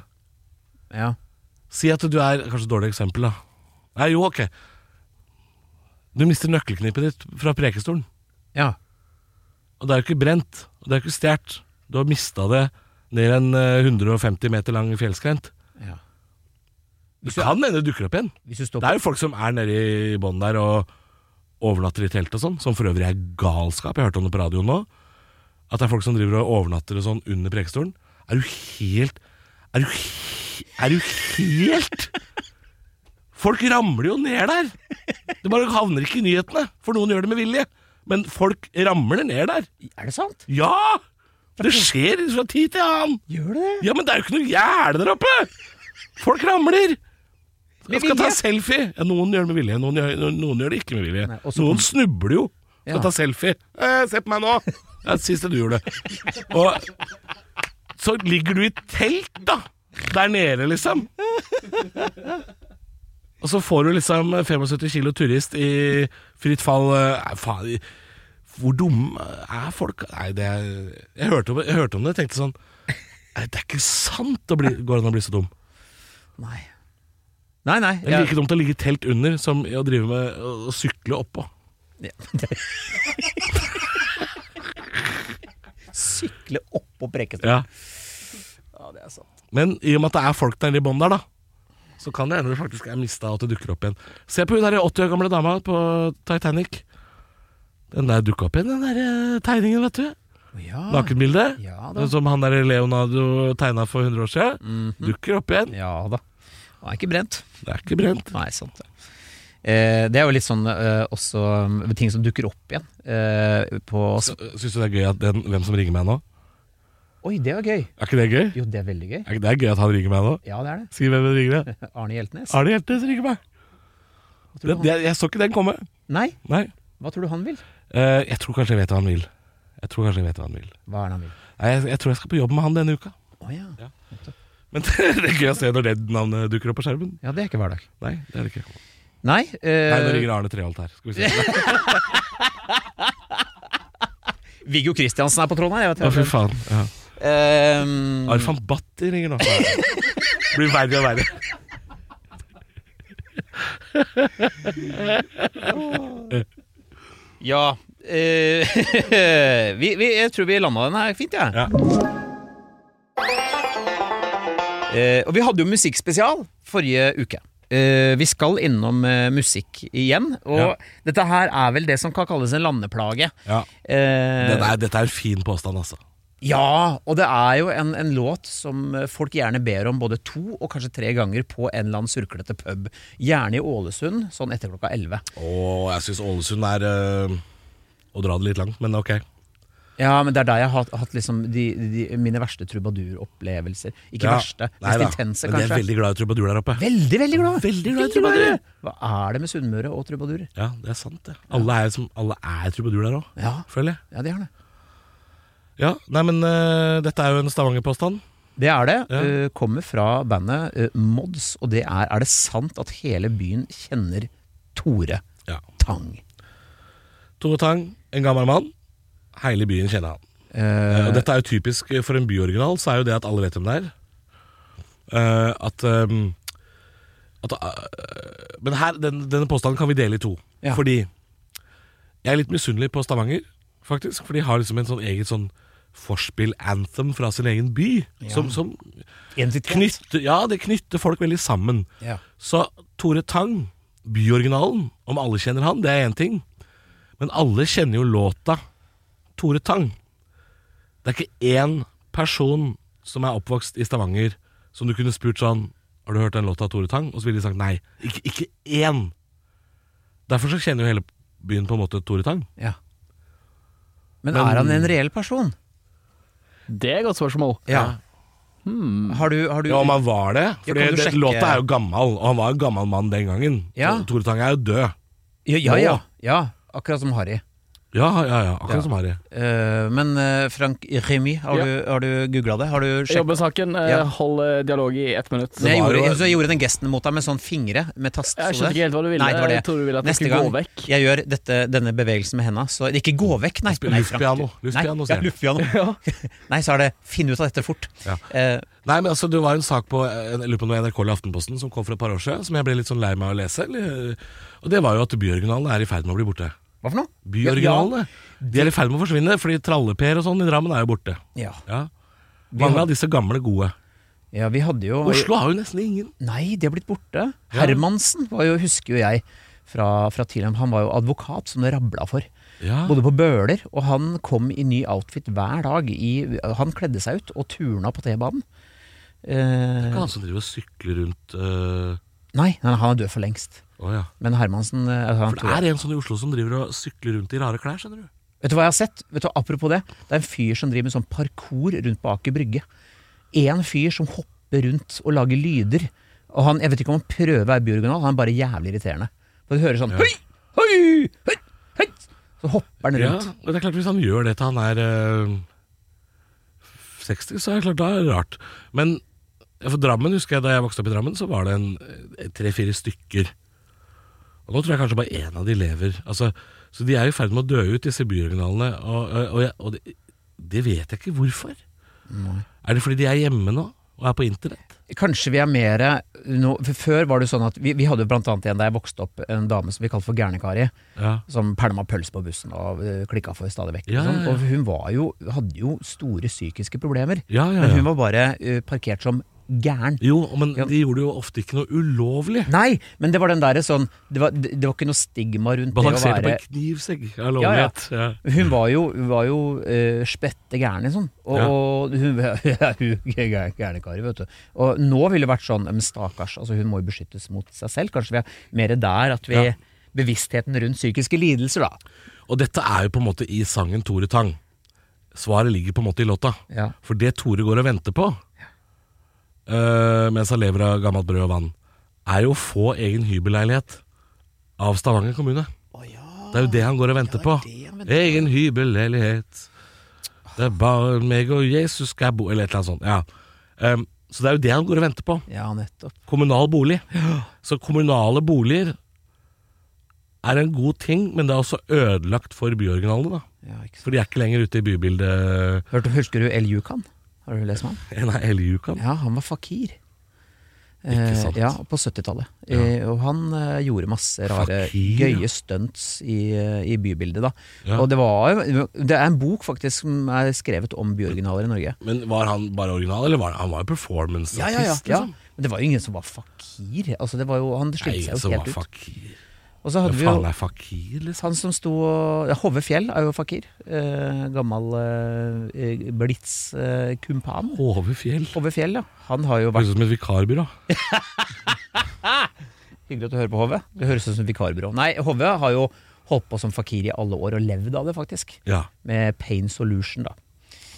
Speaker 3: Ja.
Speaker 2: Si at du er Kanskje et dårlig eksempel, da. Nei, jo, ok. Du mister nøkkelknippet ditt fra prekestolen.
Speaker 3: ja.
Speaker 2: Og det er jo ikke brent, og det er jo ikke stjålet. Du har mista det ned en eh, 150 meter lang fjellskrent.
Speaker 3: Ja.
Speaker 2: Det kan hende det dukker opp igjen.
Speaker 3: Hvis du står
Speaker 2: Det
Speaker 3: på
Speaker 2: er jo folk som er nede i bånn der og overnatter i telt og sånn, som for øvrig er galskap. Jeg hørte om det på radioen nå. At det er folk som driver og overnatter og sånn under prekestolen. Er du helt Er du, he- er du helt Folk ramler jo ned der! Det bare havner ikke i nyhetene, for noen gjør det med vilje. Men folk ramler ned der.
Speaker 3: Er det sant?
Speaker 2: Ja! Det skjer fra tid til annen.
Speaker 3: Gjør det?
Speaker 2: Ja, men det er jo ikke noe gjerde der oppe! Folk ramler!
Speaker 3: Med
Speaker 2: Jeg skal ta
Speaker 3: vilje.
Speaker 2: selfie. Ja, noen gjør det med vilje, noen gjør, noen gjør det ikke med vilje.
Speaker 3: Nei, og så
Speaker 2: Noen
Speaker 3: kom-
Speaker 2: snubler jo. Skal
Speaker 3: Ja.
Speaker 2: ta selfie. Eh, se på meg nå! Det er det siste du gjorde. Og så ligger du i telt, da! Der nede, liksom. Og så får du liksom 75 kilo turist i fritt fall. eh, Nei, faen i- Hvor dumme er folk? Nei, det er, jeg, hørte om, jeg hørte om det og tenkte sånn Nei, det er ikke sant! Å bli, går det an å bli så dum?
Speaker 3: Nei. Nei, nei.
Speaker 2: Det er like dumt å ligge i telt under som å drive med å sykle oppå.
Speaker 3: Ja. Sykle oppå Preikestolen.
Speaker 2: Ja.
Speaker 3: Ja, det er sant.
Speaker 2: Men i og med at det er folk der nede i bånn der, da, så kan det hende du faktisk er mista og at det dukker opp igjen. Se på hun der 80 år gamle dama på Titanic. Den der dukka opp igjen, den der eh, tegningen, vet du.
Speaker 3: Ja.
Speaker 2: Nakenbildet.
Speaker 3: Ah. Ja da.
Speaker 2: Den som han der Leonardo tegna for 100 år siden. Dukker opp igjen.
Speaker 3: Mhm. Ja da. Han er ikke brent.
Speaker 2: Det er ikke brent.
Speaker 3: Nei, sant det. Eh, det er jo litt sånn eh, også um, ting som dukker opp igjen. Eh, på
Speaker 2: Så, Syns du det er gøy at den, hvem som ringer meg nå?
Speaker 3: Oi, det var gøy!
Speaker 2: Er ikke det gøy?
Speaker 3: Jo, det er veldig gøy.
Speaker 2: Er ikke det gøy at han ringer meg nå?
Speaker 3: Ja, det er det.
Speaker 2: Si hvem som ringer
Speaker 3: [laughs]
Speaker 2: deg.
Speaker 3: Arne Hjeltnes.
Speaker 2: Arne Hjeltnes ringer meg.
Speaker 3: Hva
Speaker 2: Det,
Speaker 3: tror du han,
Speaker 2: det, jeg så ikke den komme.
Speaker 3: nei,
Speaker 2: Nei.
Speaker 3: hva tror du han vil?
Speaker 2: Eh, jeg tror kanskje jeg vet hva han vil. Jeg tror kanskje jeg vet hva han vil.
Speaker 3: Hva er det han vil?
Speaker 2: Nei, jeg, jeg tror jeg skal på jobb med han denne uka.
Speaker 3: Å ja.
Speaker 2: Ja. Men [laughs] det er gøy å se når det navnet dukker opp på skjermen.
Speaker 3: ja, det er ikke hverdag.
Speaker 2: Nei, det er det ikke.
Speaker 3: Nei. eh,
Speaker 2: Nei, nå ringer Arne Treholt her. Skal vi se.
Speaker 3: Viggo Kristiansen er på tråden her.
Speaker 2: Å,
Speaker 3: Jeg vet
Speaker 2: fy
Speaker 3: ikke.
Speaker 2: faen. Ja.
Speaker 3: Ehm,
Speaker 2: Arfan Bhatti ringer nå. Blir verre og verre.
Speaker 3: ja. eh, [laughs] vi, vi, jeg tror vi landa den her fint, jeg.
Speaker 2: Ja.
Speaker 3: Eh, og vi hadde jo musikkspesial forrige uke. Eh, vi skal innom eh, musikk igjen, og
Speaker 2: Ja.
Speaker 3: dette her er vel det som kan kalles en landeplage.
Speaker 2: ja.
Speaker 3: Eh,
Speaker 2: Dette, er, dette er en fin påstand, altså.
Speaker 3: Ja, og det er jo en, en låt som eh, folk gjerne ber om både to og kanskje tre ganger på en eller annen surklete pub. Gjerne i Ålesund, sånn etter klokka elleve.
Speaker 2: Og jeg syns Ålesund er øh, Å dra det litt langt, men ok.
Speaker 3: Ja, men det er der jeg har hatt, hatt liksom de, de, mine verste trubaduropplevelser. Ikke
Speaker 2: Ja.
Speaker 3: verste,
Speaker 2: Nei
Speaker 3: mest
Speaker 2: da,
Speaker 3: intense,
Speaker 2: Men jeg
Speaker 3: kanskje.
Speaker 2: er veldig glad i trubadur der oppe.
Speaker 3: Veldig, veldig glad.
Speaker 2: Veldig glad i trubadurer.
Speaker 3: Hva er det med Sunnmøre og trubadurer?
Speaker 2: Ja, det er sant, det. Alle er, som, alle er trubadur der òg,
Speaker 3: Ja,
Speaker 2: føler jeg.
Speaker 3: ja, det er det.
Speaker 2: Ja, nei, men øh, dette er jo en Stavanger-påstand.
Speaker 3: Det er det.
Speaker 2: Ja.
Speaker 3: Eh, kommer fra bandet eh, Mods, og det er Er det sant at hele byen kjenner Tore
Speaker 2: Ja.
Speaker 3: Tang?
Speaker 2: Tore Tang, en gammel mann. Hele byen kjenner han. Eh,
Speaker 3: Eh,
Speaker 2: og dette er jo typisk eh, for en byoriginal, så er jo det at alle vet hvem det er. Eh, at ehm, at, eh, men her, den, denne påstanden kan vi dele i to.
Speaker 3: Ja.
Speaker 2: Fordi jeg er litt misunnelig på Stavanger, faktisk. For de har liksom en sånn eget sånn vorspiel-anthem fra sin egen by. Som, som
Speaker 3: Identitet.
Speaker 2: knytter Ja, det knytter folk veldig sammen.
Speaker 3: Ja.
Speaker 2: Så Tore Tang, byoriginalen, om alle kjenner han, det er én ting. Men alle kjenner jo låta Tore Tang. Det er ikke én person som er oppvokst i Stavanger som du kunne spurt sånn Har du hørt den låta av Tore Tang? Og så ville de sagt nei. Ikke, ikke én. Derfor så kjenner jo hele byen på en måte Tore Tang.
Speaker 3: ja. Men,
Speaker 2: Men-
Speaker 3: er han en reell person?
Speaker 1: Det er et godt spørsmål.
Speaker 3: Ja. Hmm. Har du, har du
Speaker 2: Ja, om han var det.
Speaker 3: Ja,
Speaker 2: For
Speaker 3: kan du
Speaker 2: det,
Speaker 3: sjekke-
Speaker 2: låta er jo gammel, og han var en gammel mann den gangen.
Speaker 3: Ja.
Speaker 2: Tore Tang er jo død.
Speaker 3: ja, ja,
Speaker 2: Nå.
Speaker 3: ja, ja. Akkurat som Harry.
Speaker 2: Ja, ja, ja. Akkurat
Speaker 3: Ja.
Speaker 2: som Harry.
Speaker 3: Eh, men eh, Frank Remy, har
Speaker 1: Ja.
Speaker 3: du, har du googla det? Har du sjekket?
Speaker 1: Jobbesaken. eh,
Speaker 3: Ja.
Speaker 1: Hold eh, dialog i ett minutt.
Speaker 3: Nei, jeg,
Speaker 2: var
Speaker 3: gjorde,
Speaker 2: jo-
Speaker 3: jeg, jeg gjorde den gesten mot deg med sånn fingre, med tast.
Speaker 1: Jeg
Speaker 3: så
Speaker 1: skjønte
Speaker 3: der.
Speaker 1: ikke helt hva du ville.
Speaker 3: Nei, det var det.
Speaker 1: Jeg tror du ville at jeg
Speaker 3: Neste
Speaker 1: skulle
Speaker 3: gang
Speaker 1: gå vekk.
Speaker 3: jeg gjør dette, denne bevegelsen med henda, så Ikke gå vekk, nei.
Speaker 2: Spille
Speaker 3: nei
Speaker 2: luftpiano.
Speaker 3: Frank.
Speaker 2: Luftpiano,
Speaker 3: Nei,
Speaker 2: sier
Speaker 3: ja,
Speaker 2: jeg.
Speaker 1: [laughs]
Speaker 3: luftpiano. [laughs] nei, så er det 'finn ut av dette fort'.
Speaker 2: Ja.
Speaker 3: Eh,
Speaker 2: Nei, men altså, Det var en sak på jeg lurer på om det var NRK eller Aftenposten som kom for et par år siden, som jeg ble litt sånn lei meg av å lese. Eller, eh, og Det var jo at byoriginalene er i ferd med å bli borte.
Speaker 3: hva for noe?
Speaker 2: Byoriginalene De er i ferd med å forsvinne, fordi Tralle-Per og sånn i Drammen er jo borte.
Speaker 3: Ja.
Speaker 2: Ja. Mange
Speaker 3: har-
Speaker 2: av disse gamle gode.
Speaker 3: ja, vi hadde jo
Speaker 2: Oslo har jo nesten ingen.
Speaker 3: Nei, de har blitt borte. Hermansen var jo, husker jo jeg fra, fra tidligere. Han var jo advokat som det rabla for.
Speaker 2: Ja.
Speaker 3: Bodde på Bøler, og han kom i ny outfit hver dag. I, han kledde seg ut og turna på T-banen. Eh,
Speaker 2: Han som driver og sykler rundt øh,
Speaker 3: nei, nei, han er død for lengst.
Speaker 2: Å ja.
Speaker 3: Men Hermansen eh, han
Speaker 2: For det er en sånn i Oslo som driver og sykler rundt i rare klær, skjønner du.
Speaker 3: Vet du hva jeg har sett? Vet du, hva, apropos det. Det er en fyr som driver med sånn parkour rundt på Aker Brygge. En fyr som hopper rundt og lager lyder. Og han, jeg vet ikke om han prøver å være biooriginal, han er bare jævlig irriterende. For du hører sånn høy, høy, høy, høy. Så hopper han
Speaker 2: Ja,
Speaker 3: rundt.
Speaker 2: men det er klart Hvis han gjør det til han er eh, 60, så er det klart da er det rart. Men ja, for Drammen, husker jeg da jeg vokste opp i Drammen, så var det en eh, tre-fire stykker. Og Nå tror jeg kanskje bare én av de lever. Altså, så de er i ferd med å dø ut, disse byoriginalene. Og, og, og, jeg- og det, det vet jeg ikke hvorfor. Er det fordi de er hjemme nå og er på internett?
Speaker 3: Kanskje vi er mer eh, nå- for Før var det jo sånn at vi, vi hadde jo blant annet en da jeg vokste opp, en dame som vi kalte for Gærnekari.
Speaker 2: Ja.
Speaker 3: Som pælma pølse på bussen og klikka for stadig vekk.
Speaker 2: Ja,
Speaker 3: og sånn.
Speaker 2: ja, ja.
Speaker 3: Og hun var jo, hadde jo store psykiske problemer.
Speaker 2: Ja, ja,
Speaker 3: Men
Speaker 2: ja.
Speaker 3: hun var bare eh, parkert som gæren.
Speaker 2: Jo, men
Speaker 3: Ja.
Speaker 2: de gjorde jo ofte ikke noe ulovlig.
Speaker 3: Nei, men det var den derre sånn det var, det det var ikke noe stigma rundt
Speaker 2: Balanserte
Speaker 3: det å
Speaker 2: på
Speaker 3: være
Speaker 2: en knivsegg. Ja,
Speaker 3: Ja, ja.
Speaker 2: lovlighet. Ja,
Speaker 3: Hun var jo, hun var jo eh, spette gæren, liksom. Og,
Speaker 2: Ja.
Speaker 3: og hun [laughs] ja, hun er gæ- gærne kari, vet du. Og nå ville det vært sånn Men stakkars, altså hun må jo beskyttes mot seg selv. Kanskje vi er mer der at vi
Speaker 2: Ja.
Speaker 3: Bevisstheten rundt psykiske lidelser, da.
Speaker 2: Og dette er jo på en måte i sangen Tore Tang. Svaret ligger på en måte i låta.
Speaker 3: Ja.
Speaker 2: For det Tore går og venter på eh, mens han lever av gammelt brød og vann, er jo å få egen hybelleilighet av Stavanger kommune. Det er jo det han går og venter på. Egen hybelleilighet. Det er bare meg og Jesus skal bo Eller et eller annet sånt. Ja. Em, så det er jo det han går og venter på.
Speaker 3: Ja, nettopp.
Speaker 2: Kommunal bolig. Så kommunale boliger er en god ting, men det er også ødelagt for byoriginalene, da.
Speaker 3: Ja, ikke sant.
Speaker 2: For de er ikke lenger ute i [laughs] bybildet
Speaker 3: Hørte, husker du El Yukan? Har du lest om han?
Speaker 2: enn av hele uka.
Speaker 3: Ja, han var fakir.
Speaker 2: Ikke sant.
Speaker 3: Eh, ja, på 70-tallet. Eh, og han eh, gjorde masse rare,
Speaker 2: Fakir, ja.
Speaker 3: gøye stunts i, eh, i bybildet, da.
Speaker 2: Ja.
Speaker 3: Og det var jo Det er en bok faktisk som er skrevet om byoriginaler i Norge.
Speaker 2: Men var han bare original, eller var han, han var jo performance-artist?
Speaker 3: Ja, Sånn.
Speaker 2: liksom.
Speaker 3: Men det var jo ingen som var fakir. Altså, det var jo, han
Speaker 2: Nei,
Speaker 3: skilte
Speaker 2: som
Speaker 3: seg jo
Speaker 2: var
Speaker 3: helt ut.
Speaker 2: fakir.
Speaker 3: Og så
Speaker 2: Hva
Speaker 3: hadde vi jo
Speaker 2: faen er fakir, liksom?
Speaker 3: han som sto og ja, Hove Fjell er jo fakir. Eh, gammel eh, blitz-kumpan.
Speaker 2: Hovefjell.
Speaker 3: Hove Fjell, ja. Han har jo vært
Speaker 2: Høres ut som et vikarbyrå.
Speaker 3: Hyggelig at du hører på HV. Det høres ut som vikarbyrå. Nei, HV har jo holdt på som fakir i alle år, og levd av det, faktisk.
Speaker 2: Ja.
Speaker 3: Med Pain Solution, da.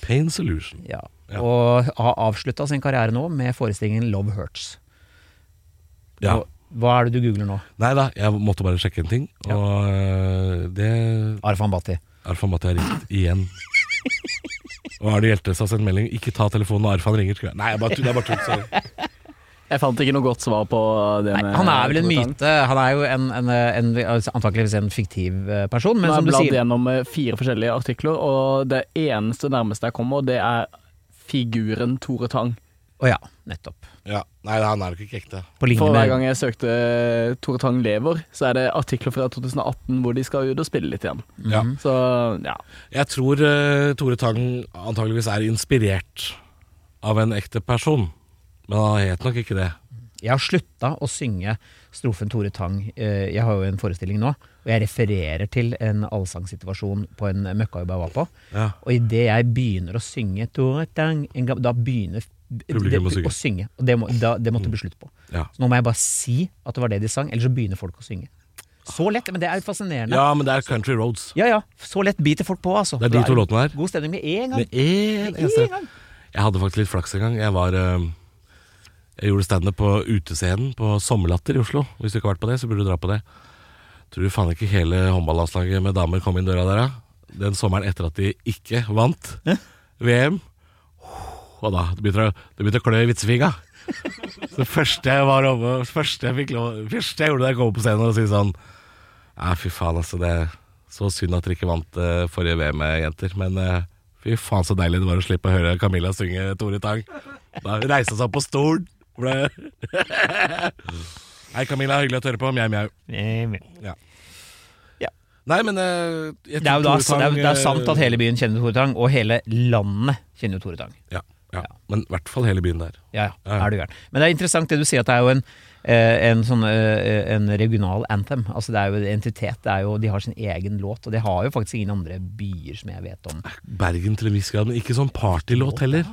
Speaker 2: Pain Solution.
Speaker 3: Ja.
Speaker 2: Ja.
Speaker 3: Og har avslutta sin karriere nå med forestillingen Love Hurts.
Speaker 2: Ja.
Speaker 3: Og Hva er det du googler nå?
Speaker 2: Nei da, jeg måtte bare sjekke en ting, og øh, det
Speaker 3: Arfan Bhatti.
Speaker 2: Arfan Bhatti har ringt igjen. Og Arne Hjeltnes har sendt melding 'ikke ta telefonen når Arfan ringer'. skriver jeg. Nei, jeg bare tull, det er bare tull. Sorry.
Speaker 1: Jeg fant ikke noe godt svar på det
Speaker 3: Nei,
Speaker 1: med
Speaker 3: han er vel en
Speaker 1: Tore Tang.
Speaker 3: myte. Han er jo en, en, en, antakeligvis en fiktiv eh, person, men
Speaker 1: Nå har
Speaker 3: som
Speaker 1: jeg
Speaker 3: du
Speaker 1: bladd
Speaker 3: sier
Speaker 1: gjennom eh, fire forskjellige artikler, og det eneste nærmeste jeg kommer, det er figuren Tore Tang.
Speaker 3: Å ja, nettopp.
Speaker 2: Ja. Nei, han er nok ikke ekte.
Speaker 3: På linje
Speaker 1: For hver
Speaker 3: med
Speaker 1: gang jeg søkte eh, Tore Tang lever, så er det artikler fra 2018 hvor de skal ut og spille litt igjen.
Speaker 2: Ja.
Speaker 3: Mhm.
Speaker 1: Så ja.
Speaker 2: Jeg tror eh, Tore Tang antageligvis er inspirert av en ekte person. Men han het nok ikke det.
Speaker 3: Jeg har slutta å synge strofen Tore Tang. Eh, Jeg har jo en forestilling nå, og jeg refererer til en allsangsituasjon på en møkkajobb jeg var på.
Speaker 2: Ja.
Speaker 3: Og idet jeg begynner å synge Tore Tang, en gang, da begynner
Speaker 2: Publikum å
Speaker 3: det-
Speaker 2: synge. Mm.
Speaker 3: Og det, må, da, det måtte bli slutt på.
Speaker 2: Ja.
Speaker 3: Så nå må jeg bare si at det var det de sang, ellers så begynner folk å synge. Så lett, men det er jo fascinerende.
Speaker 2: ja, men det er Country Roads.
Speaker 3: Ja ja, så lett biter folk på, altså.
Speaker 2: Det er de to låtene der.
Speaker 3: God stemning med en gang.
Speaker 2: Med én eneste. Jeg hadde faktisk litt flaks en gang. Jeg var eh, Jeg gjorde standup på utescenen på Sommerlatter i Oslo. Hvis du ikke har vært på det, så burde du dra på det. Tror du faen ikke hele håndballandslaget med damer kom inn døra der, da? Den sommeren etter at de ikke vant VM. Og da det begynte å- det begynte å klø i vitsefinga. Så det første jeg var oppe Første jeg, fikk lov, første jeg gjorde da jeg kom opp på scenen og si sånn Nei, fy faen, altså. Det er så synd at dere ikke vant eh, forrige VM, eh, jenter. Men eh, fy faen, så deilig det var å slippe å høre Camilla synge Tore Tang. Da reiste hun seg opp på stolen. Ble... [laughs] Hei, Camilla. Hyggelig å høre på. Mjau, mjau. Nei, men eh, jeg
Speaker 3: Det er jo da,
Speaker 2: tror Tore
Speaker 3: det er,
Speaker 2: Tang,
Speaker 3: det er sant
Speaker 2: eh,
Speaker 3: at hele byen kjenner Tore Tang, og hele landet kjenner Tore Tang.
Speaker 2: ja, ja, men i hvert fall hele byen der.
Speaker 3: Ja, ja,
Speaker 2: Ja.
Speaker 3: er du gæren. Men det er interessant det du sier, at det er jo en, eh, en, sånn, eh, en regional anthem. Altså det er jo en entitet. Det er jo, de har sin egen låt, og det har jo faktisk ingen andre byer som jeg vet om.
Speaker 2: Bergen til en viss grad, men ikke sånn partylåt heller.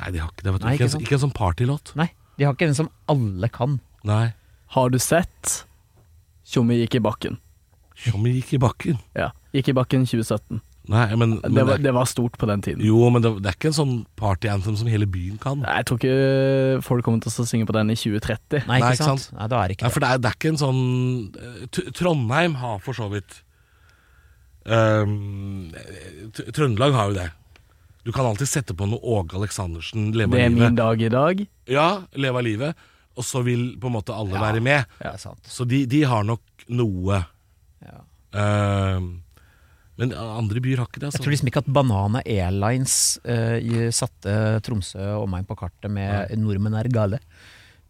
Speaker 2: Nei, de har ikke det. Vet du. ikke,
Speaker 3: Nei, ikke
Speaker 2: en,
Speaker 3: sant.
Speaker 2: ikke en sånn partylåt.
Speaker 3: Nei, de har ikke en som alle kan.
Speaker 2: Nei.
Speaker 1: Har du sett Tjommi gikk i bakken?
Speaker 2: Tjommi gikk i bakken.
Speaker 1: Ja. Gikk i bakken 2017.
Speaker 2: Nei, men, men
Speaker 1: Det var,
Speaker 2: det,
Speaker 1: det var stort på den tiden.
Speaker 2: Jo, men det, det er ikke en sånn party anthem som hele byen kan.
Speaker 1: Nei, Jeg tror ikke folk kommer til å synge på den i 2030.
Speaker 3: Nei,
Speaker 2: Nei,
Speaker 3: ikke
Speaker 2: ikke
Speaker 3: sant? Nei, da er det
Speaker 2: Nei,
Speaker 3: ikke det.
Speaker 2: for det er, det er ikke en sånn eh, Tr- Trondheim har for så vidt Ehm, Tr- Trøndelag har jo det. Du kan alltid sette på noe Åge Aleksandersen, leve
Speaker 1: Det er
Speaker 2: av
Speaker 1: min
Speaker 2: livet.
Speaker 1: dag i dag.
Speaker 2: Ja, leve av livet. Og så vil på en måte alle være med.
Speaker 3: Det er sant.
Speaker 2: Så de, de har nok noe.
Speaker 3: Ja.
Speaker 2: Ehm, men andre byer har ikke det.
Speaker 3: Jeg
Speaker 2: Altså.
Speaker 3: tror liksom ikke at Banana Airlines eh, i- satte Tromsø og omegn på kartet med 'Nordmenn er gale'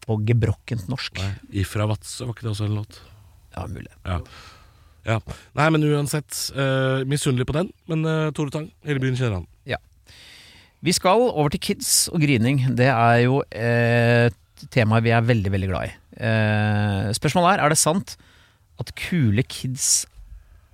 Speaker 3: på gebrokkent norsk.
Speaker 2: Nei, Ifra Vadsø, var ikke det også en låt?
Speaker 3: Ja, mulig.
Speaker 2: Ja. ja. Nei, men uansett. Uh, Misunnelig på den, men eh, Tore Tang, hele byen kjenner han.
Speaker 3: Vi skal over til kids og grining. Det er jo eh, et tema vi er veldig, veldig glad i. Eh, spørsmålet er er det sant at kule kids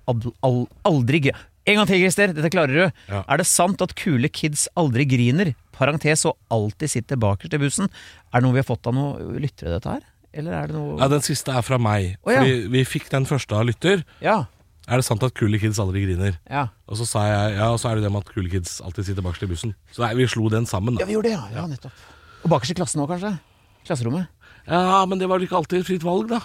Speaker 3: al al aldri gri- En gang til, Christer! Dette klarer du.
Speaker 2: Ja.
Speaker 3: Er det sant at kule kids aldri griner? Parentes og alltid sitter bakerst i bussen. Er det noe vi har fått av noen lyttere, dette her? Eller er det
Speaker 2: Ja,
Speaker 3: noe
Speaker 2: Den siste er fra meg.
Speaker 3: Å, ja.
Speaker 2: Fordi vi fikk den første av lytter.
Speaker 3: Ja.
Speaker 2: Er det sant at kule kids aldri griner?
Speaker 3: Ja,
Speaker 2: Og så sa jeg ja, og så er det det med at kule kids alltid sitter bakerst i bussen. Så nei, vi slo den sammen, da.
Speaker 3: ja vi gjorde det, ja. ja nettopp. Og bakerst i klassen òg, kanskje? Klasserommet?
Speaker 2: Ja, men det var jo ikke alltid fritt valg, da.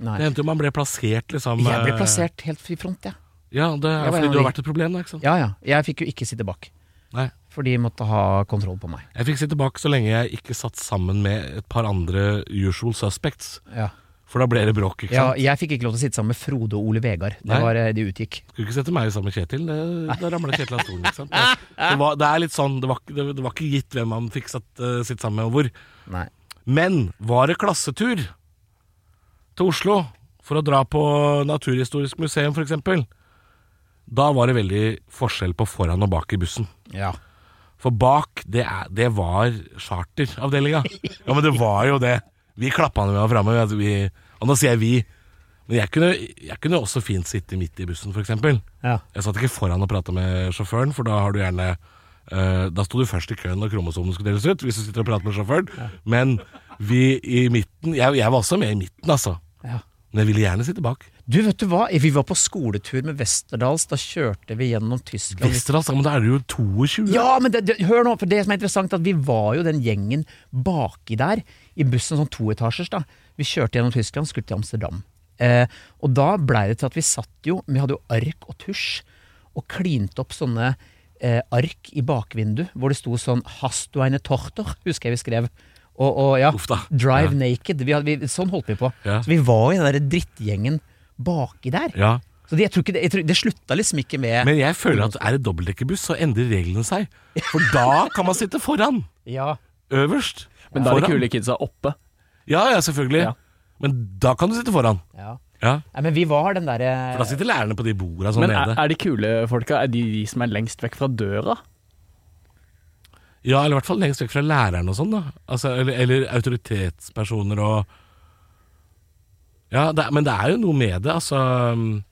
Speaker 3: Nei.
Speaker 2: Det hendte jo man ble plassert, liksom.
Speaker 3: Jeg ble
Speaker 2: eh,
Speaker 3: plassert helt i front, jeg.
Speaker 2: Ja, det
Speaker 3: Jeg
Speaker 2: er
Speaker 3: var en
Speaker 2: fordi
Speaker 3: av
Speaker 2: du har
Speaker 3: de.
Speaker 2: vært et problem, da. ikke sant?
Speaker 3: Ja. ja ja. Jeg fikk jo ikke sitte bak.
Speaker 2: Nei.
Speaker 3: For de måtte ha kontroll på meg.
Speaker 2: Jeg fikk sitte bak så lenge jeg ikke satt sammen med et par andre usual suspects.
Speaker 3: Ja.
Speaker 2: For da ble det bråk, ikke
Speaker 3: Ja,
Speaker 2: sant.
Speaker 3: jeg fikk ikke lov til å sitte sammen med Frode og Ole Vegard. Det
Speaker 2: Nei.
Speaker 3: var, eh, de utgikk.
Speaker 2: Skulle ikke sette meg sammen med Kjetil. det- Da ramla Kjetil av stolen, ikke sant. Det var, det er litt sånn, det var, ikke- det, det var ikke gitt hvem man fikk satt, eh, sitt sammen med, og hvor.
Speaker 3: Nei.
Speaker 2: Men var det klassetur til Oslo for å dra på Naturhistorisk museum f.eks., da var det veldig forskjell på foran og bak i bussen.
Speaker 3: Ja.
Speaker 2: For bak, det, er, det var charteravdelinga. Ja, men det var jo det. Vi klappa når vi var framme. altså, vi- Og nå sier jeg vi. Men jeg kunne, jeg kunne også fint sitte midt i bussen, f.eks.
Speaker 3: Ja.
Speaker 2: Jeg satt ikke foran og prata med sjåføren, for da har du gjerne eh, Da sto du først i køen når kromosomene skulle deles ut, hvis du sitter og prater med sjåføren. Men vi i midten jeg, jeg var også med i midten, altså.
Speaker 3: ja.
Speaker 2: Men jeg ville gjerne sitte bak.
Speaker 3: Du, vet du hva? Vi var på skoletur med Westerdals. Da kjørte vi gjennom Tyskland.
Speaker 2: Vesterålen, sa, altså, men da er du jo 22.
Speaker 3: Ja, men det, det, hør nå, for det som er interessant, er at vi var jo den gjengen baki der, i bussen sånn toetasjers, da. Vi kjørte gjennom Tyskland, skulle til Amsterdam. Eh, og da blei det til at vi satt jo, vi hadde jo ark og tusj, og klinte opp sånne eh, ark i bakvindu, hvor det sto sånn 'Hast du eine Tochter?' husker jeg vi skrev. Og, og ja,
Speaker 2: Uff da.
Speaker 3: 'Drive
Speaker 2: Ja.
Speaker 3: Naked'. Vi hadde, vi, sånn holdt vi på.
Speaker 2: Ja.
Speaker 3: Så vi var i den der drittgjengen baki der.
Speaker 2: Ja.
Speaker 3: Så det, jeg tror ikke det, jeg tror, det slutta liksom ikke med
Speaker 2: Men jeg føler at er det dobbeltdekkerbuss, så endrer reglene seg. For da kan man sitte foran.
Speaker 3: Ja.
Speaker 2: Øverst.
Speaker 1: Men da er de
Speaker 2: Foran.
Speaker 1: kule kidsa oppe.
Speaker 2: Ja, ja, selvfølgelig.
Speaker 1: Ja.
Speaker 2: Men da kan du sitte foran.
Speaker 3: ja.
Speaker 2: Ja.
Speaker 3: Nei, men vi var den eh, derre
Speaker 2: For da sitter lærerne på de borda sånn
Speaker 1: Men er,
Speaker 2: nede.
Speaker 1: er de kule folka er de, de som er lengst vekk fra døra?
Speaker 2: Ja, eller i hvert fall lengst vekk fra læreren og sånn, da. Altså, eller, eller autoritetspersoner og Ja, det, er- men det er jo noe med det, altså. um,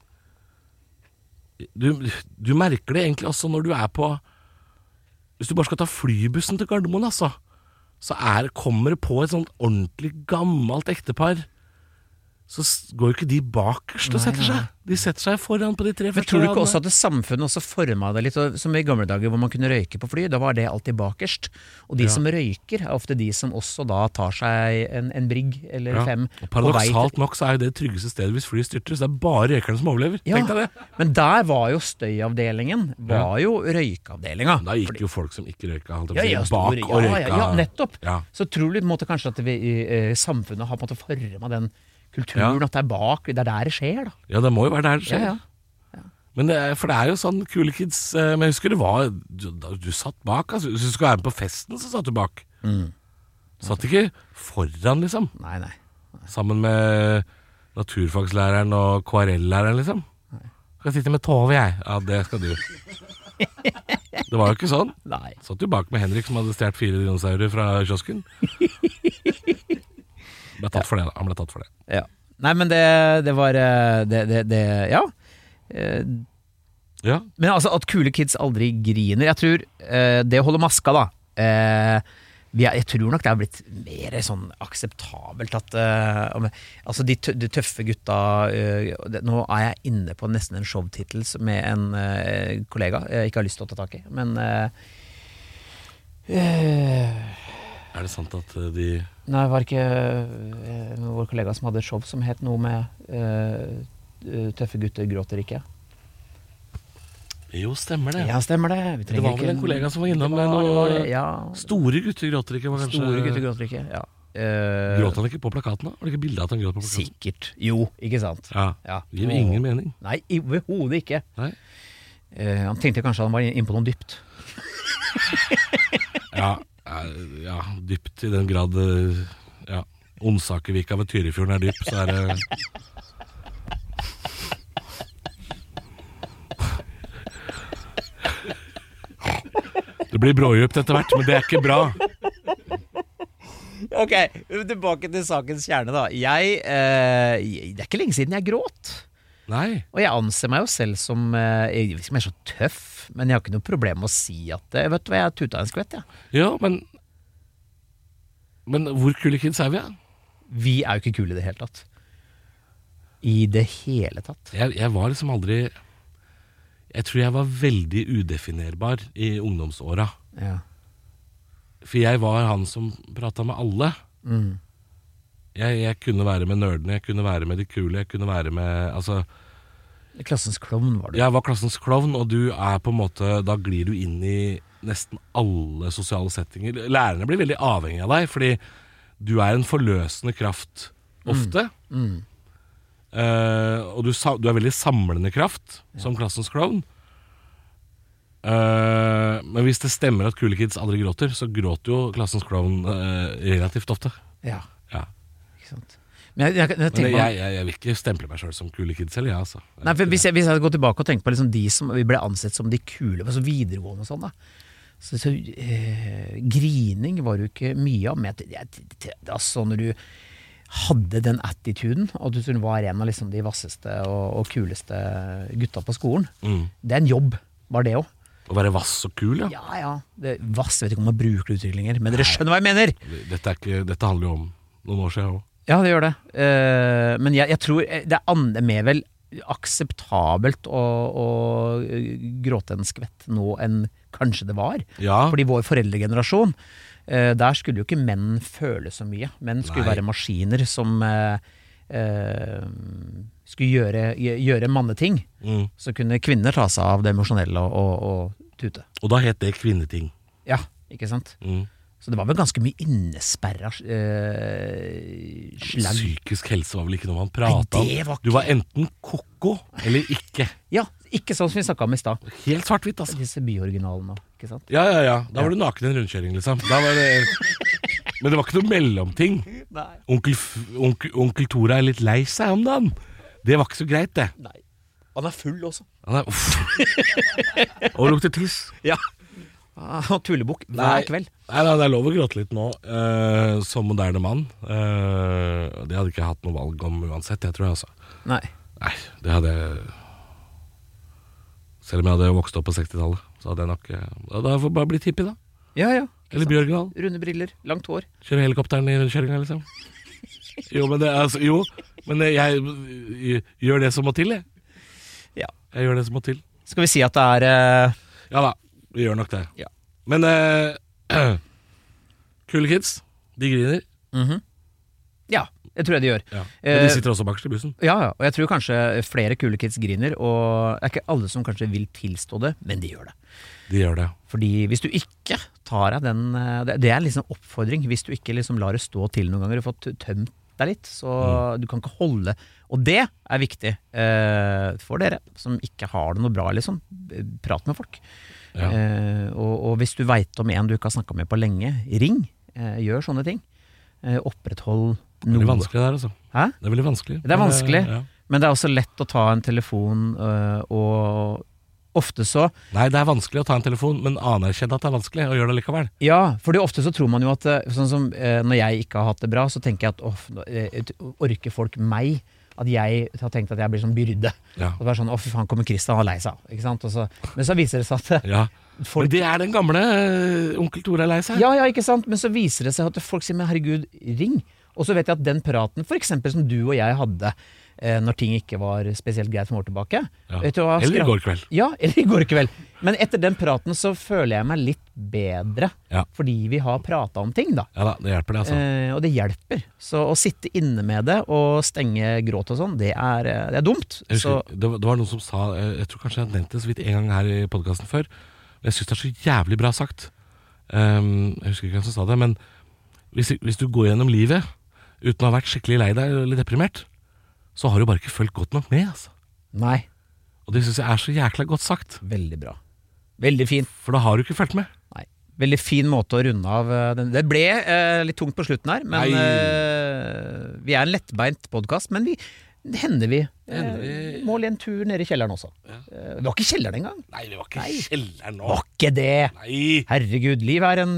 Speaker 2: Du, du merker det egentlig også når du er på Hvis du bare skal ta flybussen til Gardermoen, altså, så er, kommer det på et sånt ordentlig gammelt ektepar. Så s- går jo ikke de bakerst og
Speaker 3: Nei,
Speaker 2: setter
Speaker 3: nei.
Speaker 2: seg. De setter seg foran på de tre
Speaker 3: Men
Speaker 2: første
Speaker 3: tror du ikke
Speaker 2: radene.
Speaker 3: også at det samfunnet også forma det litt? og- Som i gamle dager hvor man kunne røyke på fly, da var det alltid bakerst. Og de som røyker, er ofte de som også da tar seg en, en brigg eller
Speaker 2: Ja.
Speaker 3: fem.
Speaker 2: Og
Speaker 3: på vei til-
Speaker 2: Paradoksalt nok så er jo det tryggeste stedet hvis flyet styrter, så det er bare røykerne som overlever.
Speaker 3: Ja,
Speaker 2: Tenk deg det.
Speaker 3: Men der var jo støyavdelingen, var jo røykeavdelinga.
Speaker 2: Da gikk jo folk som ikke røyka, holdt jeg på
Speaker 3: Ja,
Speaker 2: å si,
Speaker 3: ja,
Speaker 2: bak
Speaker 3: stor, ja,
Speaker 2: og røyka.
Speaker 3: ja, ja, nettopp.
Speaker 2: Ja.
Speaker 3: Så tror du på en måte kanskje at vi, i, eh, samfunnet har på en måte forma den kulturen,
Speaker 2: Ja.
Speaker 3: at det er bak, det er der det skjer, da.
Speaker 2: Ja, det må jo være der det skjer.
Speaker 3: Ja, ja.
Speaker 2: Men det, er- for det er jo sånn Kule Kids eh, Men jeg husker det var Du, da- du satt bak. Altså. Hvis du skulle være med på festen, så satt du bak.
Speaker 3: Mm.
Speaker 2: Satt ikke foran, liksom.
Speaker 3: Nei, nei.
Speaker 2: Sammen med naturfagslæreren og KRL-læreren, liksom. Skal sitte med Tove, jeg. Ja, det skal
Speaker 3: [laughs]
Speaker 2: du. Det var jo ikke sånn.
Speaker 3: nei.
Speaker 2: Satt jo bak med Henrik som hadde stjålet fire dinosaurer fra
Speaker 3: [laughs]
Speaker 2: kiosken. Ble tatt for det, da. Han ble tatt for det.
Speaker 3: Ja. Nei, men det, det var eh, det, det, det Ja. Eh,
Speaker 2: Ja,
Speaker 3: Men altså at kule kids aldri griner Jeg tror eh, det å holde maska da eh, vi er, jeg tror nok det er blitt mer sånn akseptabelt at eh, om- Altså, de, tø de tøffe gutta eh, det, Nå er jeg inne på nesten en showtittel som- med en eh, kollega jeg ikke har lyst til å ta tak i, men eh, eh,
Speaker 2: Er det sant at eh, de
Speaker 3: Nei, var det ikke eh, vår kollega som hadde et show som het noe med eh, Tøffe gutter gråter ikke?
Speaker 2: Jo, stemmer det.
Speaker 3: Ja, stemmer det. Vi
Speaker 2: det
Speaker 3: trenger
Speaker 2: var
Speaker 3: ikke
Speaker 2: vel en kollega som var innom
Speaker 3: Ja,
Speaker 2: med
Speaker 3: det var det,
Speaker 2: noe
Speaker 3: ja.
Speaker 2: Store gutter gråter ikke, var kanskje
Speaker 3: Store gutter gråter ikke. Ja. Eh,
Speaker 2: Gråt han ikke på plakaten, da? Var det ikke bilde av at han gråt på plakaten?
Speaker 3: Sikkert. Jo, ikke sant.
Speaker 2: Ja.
Speaker 3: Ja.
Speaker 2: Gir ingen mening.
Speaker 3: Nei, i- overhodet ikke.
Speaker 2: Nei.
Speaker 3: Eh, han tenkte kanskje han var inne på noe dypt.
Speaker 2: Ja, eh, ja, dypt i den grad eh, ja. Onsakervika ved Tyrifjorden er dyp, så er det Det blir brådjupt etter hvert, men det er ikke bra.
Speaker 3: Ok, tilbake til sakens kjerne, da. Jeg eh, jeg- Det er ikke lenge siden jeg gråt.
Speaker 2: Nei.
Speaker 3: Og jeg anser meg jo selv som eh, Jeg vet ikke om jeg er så tøff, men jeg har ikke noe problem med å si at eh, Vet du hva, jeg tuta en skvett, jeg.
Speaker 2: Ja, men Men hvor kule kids er vi, da?
Speaker 3: Vi er jo ikke kule i det hele tatt. I det hele tatt.
Speaker 2: Jeg, jeg var liksom aldri Jeg tror jeg var veldig udefinerbar i ungdomsåra.
Speaker 3: Ja.
Speaker 2: For jeg var han som prata med alle.
Speaker 3: Mm.
Speaker 2: Jeg, jeg kunne være med nerdene, jeg kunne være med de kule, jeg kunne være med Altså,
Speaker 3: Klassens klovn var du.
Speaker 2: jeg var klassens klovn, og du er på en måte Da glir du inn i nesten alle sosiale settinger. Lærerne blir veldig avhengig av deg, fordi du er en forløsende kraft ofte.
Speaker 3: Mm.
Speaker 2: Eh, og du, sa- du er veldig samlende kraft som klassens klovn. Eh, men hvis det stemmer at kule kids aldri gråter, så gråter jo klassens klovn eh, relativt ofte.
Speaker 3: Ja,
Speaker 2: Ja.
Speaker 3: ikke sant. Men jeg, jeg, jeg,
Speaker 2: Men jeg,
Speaker 3: tenker på-
Speaker 2: jeg, jeg vil ikke stemple meg sjøl som kule kids heller, jeg, altså.
Speaker 3: Nei, for hvis, jeg, hvis jeg går tilbake og tenker på liksom de som vi ble ansett som de kule, altså videregående og sånn, da. Så, så eh, Grining var jo ikke mye av, men jeg- jeg- jeg- altså når du hadde den attituden, og du tror du var en av liksom de vasseste og, og kuleste gutta på skolen
Speaker 2: Mm.
Speaker 3: Det er en jobb, var det òg.
Speaker 2: Å være vass og kul, ja.
Speaker 3: Ja ja. Det, vass, jeg vet ikke om man bruker det uttrykket lenger, men dere skjønner hva jeg mener!
Speaker 2: Dette, er ikke, dette handler jo om noen år siden òg.
Speaker 3: Ja, det gjør det. Eh, men jeg, jeg tror eh, det er an- mer vel akseptabelt å, å eh, gråte en skvett nå enn kanskje det var.
Speaker 2: Ja.
Speaker 3: Fordi vår foreldregenerasjon, eh, der skulle jo ikke menn føle så mye. Menn skulle
Speaker 2: Nei.
Speaker 3: være maskiner som eh, eh, skulle gjøre, gjø- gjøre manneting.
Speaker 2: Mm.
Speaker 3: Så kunne kvinner ta seg av det emosjonelle og, og, og tute.
Speaker 2: Og da het det kvinneting.
Speaker 3: Ja, ikke sant?
Speaker 2: Mm.
Speaker 3: Så det var vel ganske mye innesperra eh, slagg.
Speaker 2: Psykisk helse var vel ikke noe man prata
Speaker 3: Nei,
Speaker 2: om.
Speaker 3: det var ikke-
Speaker 2: Du var enten ko-ko eller ikke.
Speaker 3: Ja, ikke sånn som vi snakka om i stad.
Speaker 2: Helt svart-hvitt, altså.
Speaker 3: Disse byoriginalene og ikke sant?
Speaker 2: Ja, ja, ja. Da var du naken i en rundkjøring, liksom. Da var det... [laughs] Men det var ikke noe mellomting.
Speaker 3: Nei.
Speaker 2: Onkel, F- onkel, onkel Tora er litt lei seg om dagen. Det var ikke så greit, det.
Speaker 3: Han er full også.
Speaker 2: Han er uff.
Speaker 3: [laughs]
Speaker 2: Og lukter tiss.
Speaker 3: Ja. Ah, Og tullebukk hver
Speaker 2: Nei.
Speaker 3: kveld.
Speaker 2: Nei, nei, det er lov å gråte litt nå, eh, som moderne mann. Eh, det hadde ikke jeg hatt noe valg om uansett, jeg tror jeg, altså.
Speaker 3: Nei.
Speaker 2: Nei, det hadde jeg Selv om jeg hadde vokst opp på 60-tallet, så hadde jeg nok eh, Da da får jeg bare blitt hippie, da.
Speaker 3: Ja ja.
Speaker 2: Eller Bjørgendal.
Speaker 3: Runde briller, langt hår.
Speaker 2: Kjøre helikopteren i rundkjøringa, liksom. Jo, men det altså, Jo, men jeg, jeg gjør det som må til, jeg.
Speaker 3: Ja.
Speaker 2: Jeg gjør det som må til.
Speaker 3: Skal vi si at det er eh,
Speaker 2: Ja da, vi gjør nok det.
Speaker 3: Ja.
Speaker 2: Men eh, [clears throat] kule kids, de griner.
Speaker 3: mhm. Ja, det tror jeg de gjør.
Speaker 2: Ja. Men
Speaker 3: Eh,
Speaker 2: de sitter også bakerst i bussen.
Speaker 3: Ja, ja, og jeg tror kanskje flere kule kids griner, og det er ikke alle som kanskje vil tilstå det, men de gjør det.
Speaker 2: De gjør det.
Speaker 3: Fordi hvis du ikke tar deg den eh, Det det er liksom oppfordring. Hvis du ikke liksom lar det stå til noen ganger og får t- tømt deg litt, så
Speaker 2: Mm.
Speaker 3: du kan ikke holde Og det er viktig eh, for dere som ikke har det noe bra, liksom. B- Prat med folk.
Speaker 2: Ja.
Speaker 3: Eh, og, og hvis du veit om en du ikke har snakka med på lenge, ring. Eh, gjør sånne ting. Eh, oppretthold
Speaker 2: Det er
Speaker 3: noe.
Speaker 2: veldig vanskelig der, altså.
Speaker 3: Hæ?
Speaker 2: Det er veldig vanskelig.
Speaker 3: Det er vanskelig.
Speaker 2: Men, eh, ja.
Speaker 3: Men det er også lett å ta en telefon, eh, og ofte så
Speaker 2: Nei, det er vanskelig å ta en telefon, men anerkjenn at det er vanskelig, og gjør det likevel.
Speaker 3: Ja, fordi ofte så tror man jo at eh, Sånn som eh, når jeg ikke har hatt det bra, så tenker jeg at åh, nå, eh, orker folk meg at jeg har tenkt at jeg blir sånn byrde.
Speaker 2: Ja.
Speaker 3: Og det var sånn, Å, fy faen, kommer Christian og er lei seg. av», Ikke sant? Og så, men så viser det seg at eh,
Speaker 2: ja.
Speaker 3: folk
Speaker 2: Men det er den gamle eh, onkel Tore er lei seg.
Speaker 3: Ja, ja, ikke sant? Men så viser det seg at folk sier men herregud, ring. Og så vet jeg at den praten for eksempel, som du og jeg hadde eh, når ting ikke var spesielt greit for noen år tilbake
Speaker 2: Ja.
Speaker 3: vet du hva,
Speaker 2: Eller i
Speaker 3: skra-
Speaker 2: går kveld.
Speaker 3: Ja, eller i går kveld. Men etter den praten så føler jeg meg litt bedre.
Speaker 2: Ja.
Speaker 3: Fordi vi har prata om ting, da.
Speaker 2: Ja da, det hjelper det, altså.
Speaker 3: Eh, og det hjelper. Så å sitte inne med det og stenge gråt og sånn, det er, eh, det er dumt.
Speaker 2: Jeg
Speaker 3: Så,
Speaker 2: husker, det, var- det var noen som sa eh, Jeg tror kanskje jeg har nevnt det så vidt en gang her i podkasten før. Men jeg syns det er så jævlig bra sagt. Ehm, jeg husker ikke hvem som sa det, men hvis, hvis du går gjennom livet uten å ha vært skikkelig lei deg eller deprimert, så har du bare ikke fulgt godt nok med. Altså.
Speaker 3: nei,
Speaker 2: Og det syns jeg er så jækla godt sagt,
Speaker 3: veldig bra. Veldig fint.
Speaker 2: for da har du ikke fulgt med.
Speaker 3: Nei. Veldig fin måte å runde av eh, den. Det ble eh, litt tungt på slutten her, men
Speaker 2: Nei.
Speaker 3: eh, vi er en lettbeint podkast. Men vi, det hender vi
Speaker 2: hender
Speaker 3: eh, må le en tur nede i kjelleren også. Eh, det var ikke kjelleren engang.
Speaker 2: Nei, vi var ikke i kjelleren nå.
Speaker 3: Var ikke det!
Speaker 2: Nei!
Speaker 3: Herregud, livet er en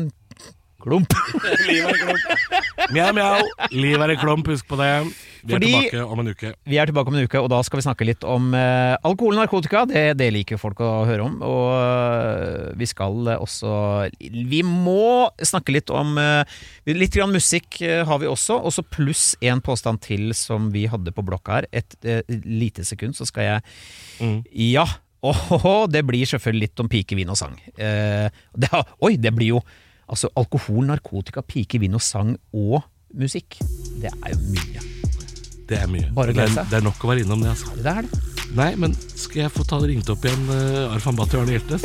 Speaker 3: klump.
Speaker 2: Liv er i klump. Mjau, mjau. Liv er i klump, husk på det. Vi er
Speaker 3: Fordi-
Speaker 2: tilbake om en uke.
Speaker 3: Vi er tilbake om en uke, og da skal vi snakke litt om eh, alkohol og narkotika. Det, det liker folk å høre om. Og eh, vi skal eh, også Vi må snakke litt om eh, Litt grann musikk eh, har vi også, og så pluss en påstand til som vi hadde på blokka her. Et eh, lite sekund, så skal jeg
Speaker 2: Mm.
Speaker 3: Ja! Åhåhå, det blir selvfølgelig litt om pike, vin og sang. Eh, det, har- oi, det blir jo altså alkohol, narkotika, pike, vin og sang og musikk. Det er jo mye.
Speaker 2: Det er mye.
Speaker 3: Bare å
Speaker 2: det,
Speaker 3: glede
Speaker 2: er,
Speaker 3: seg.
Speaker 2: det er nok å være innom det, altså.
Speaker 3: Det er det.
Speaker 2: Nei, men skal jeg få ta det ringt opp igjen, eh, Arfan Bhatti og Arne Hjeltnes?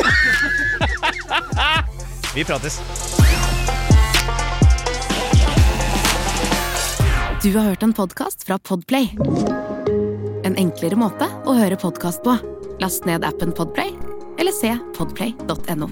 Speaker 3: Vi prates.
Speaker 4: Du har hørt en podcast fra Podplay En enklere måte å høre podcast på Last ned appen Podplay Eller se podplay.no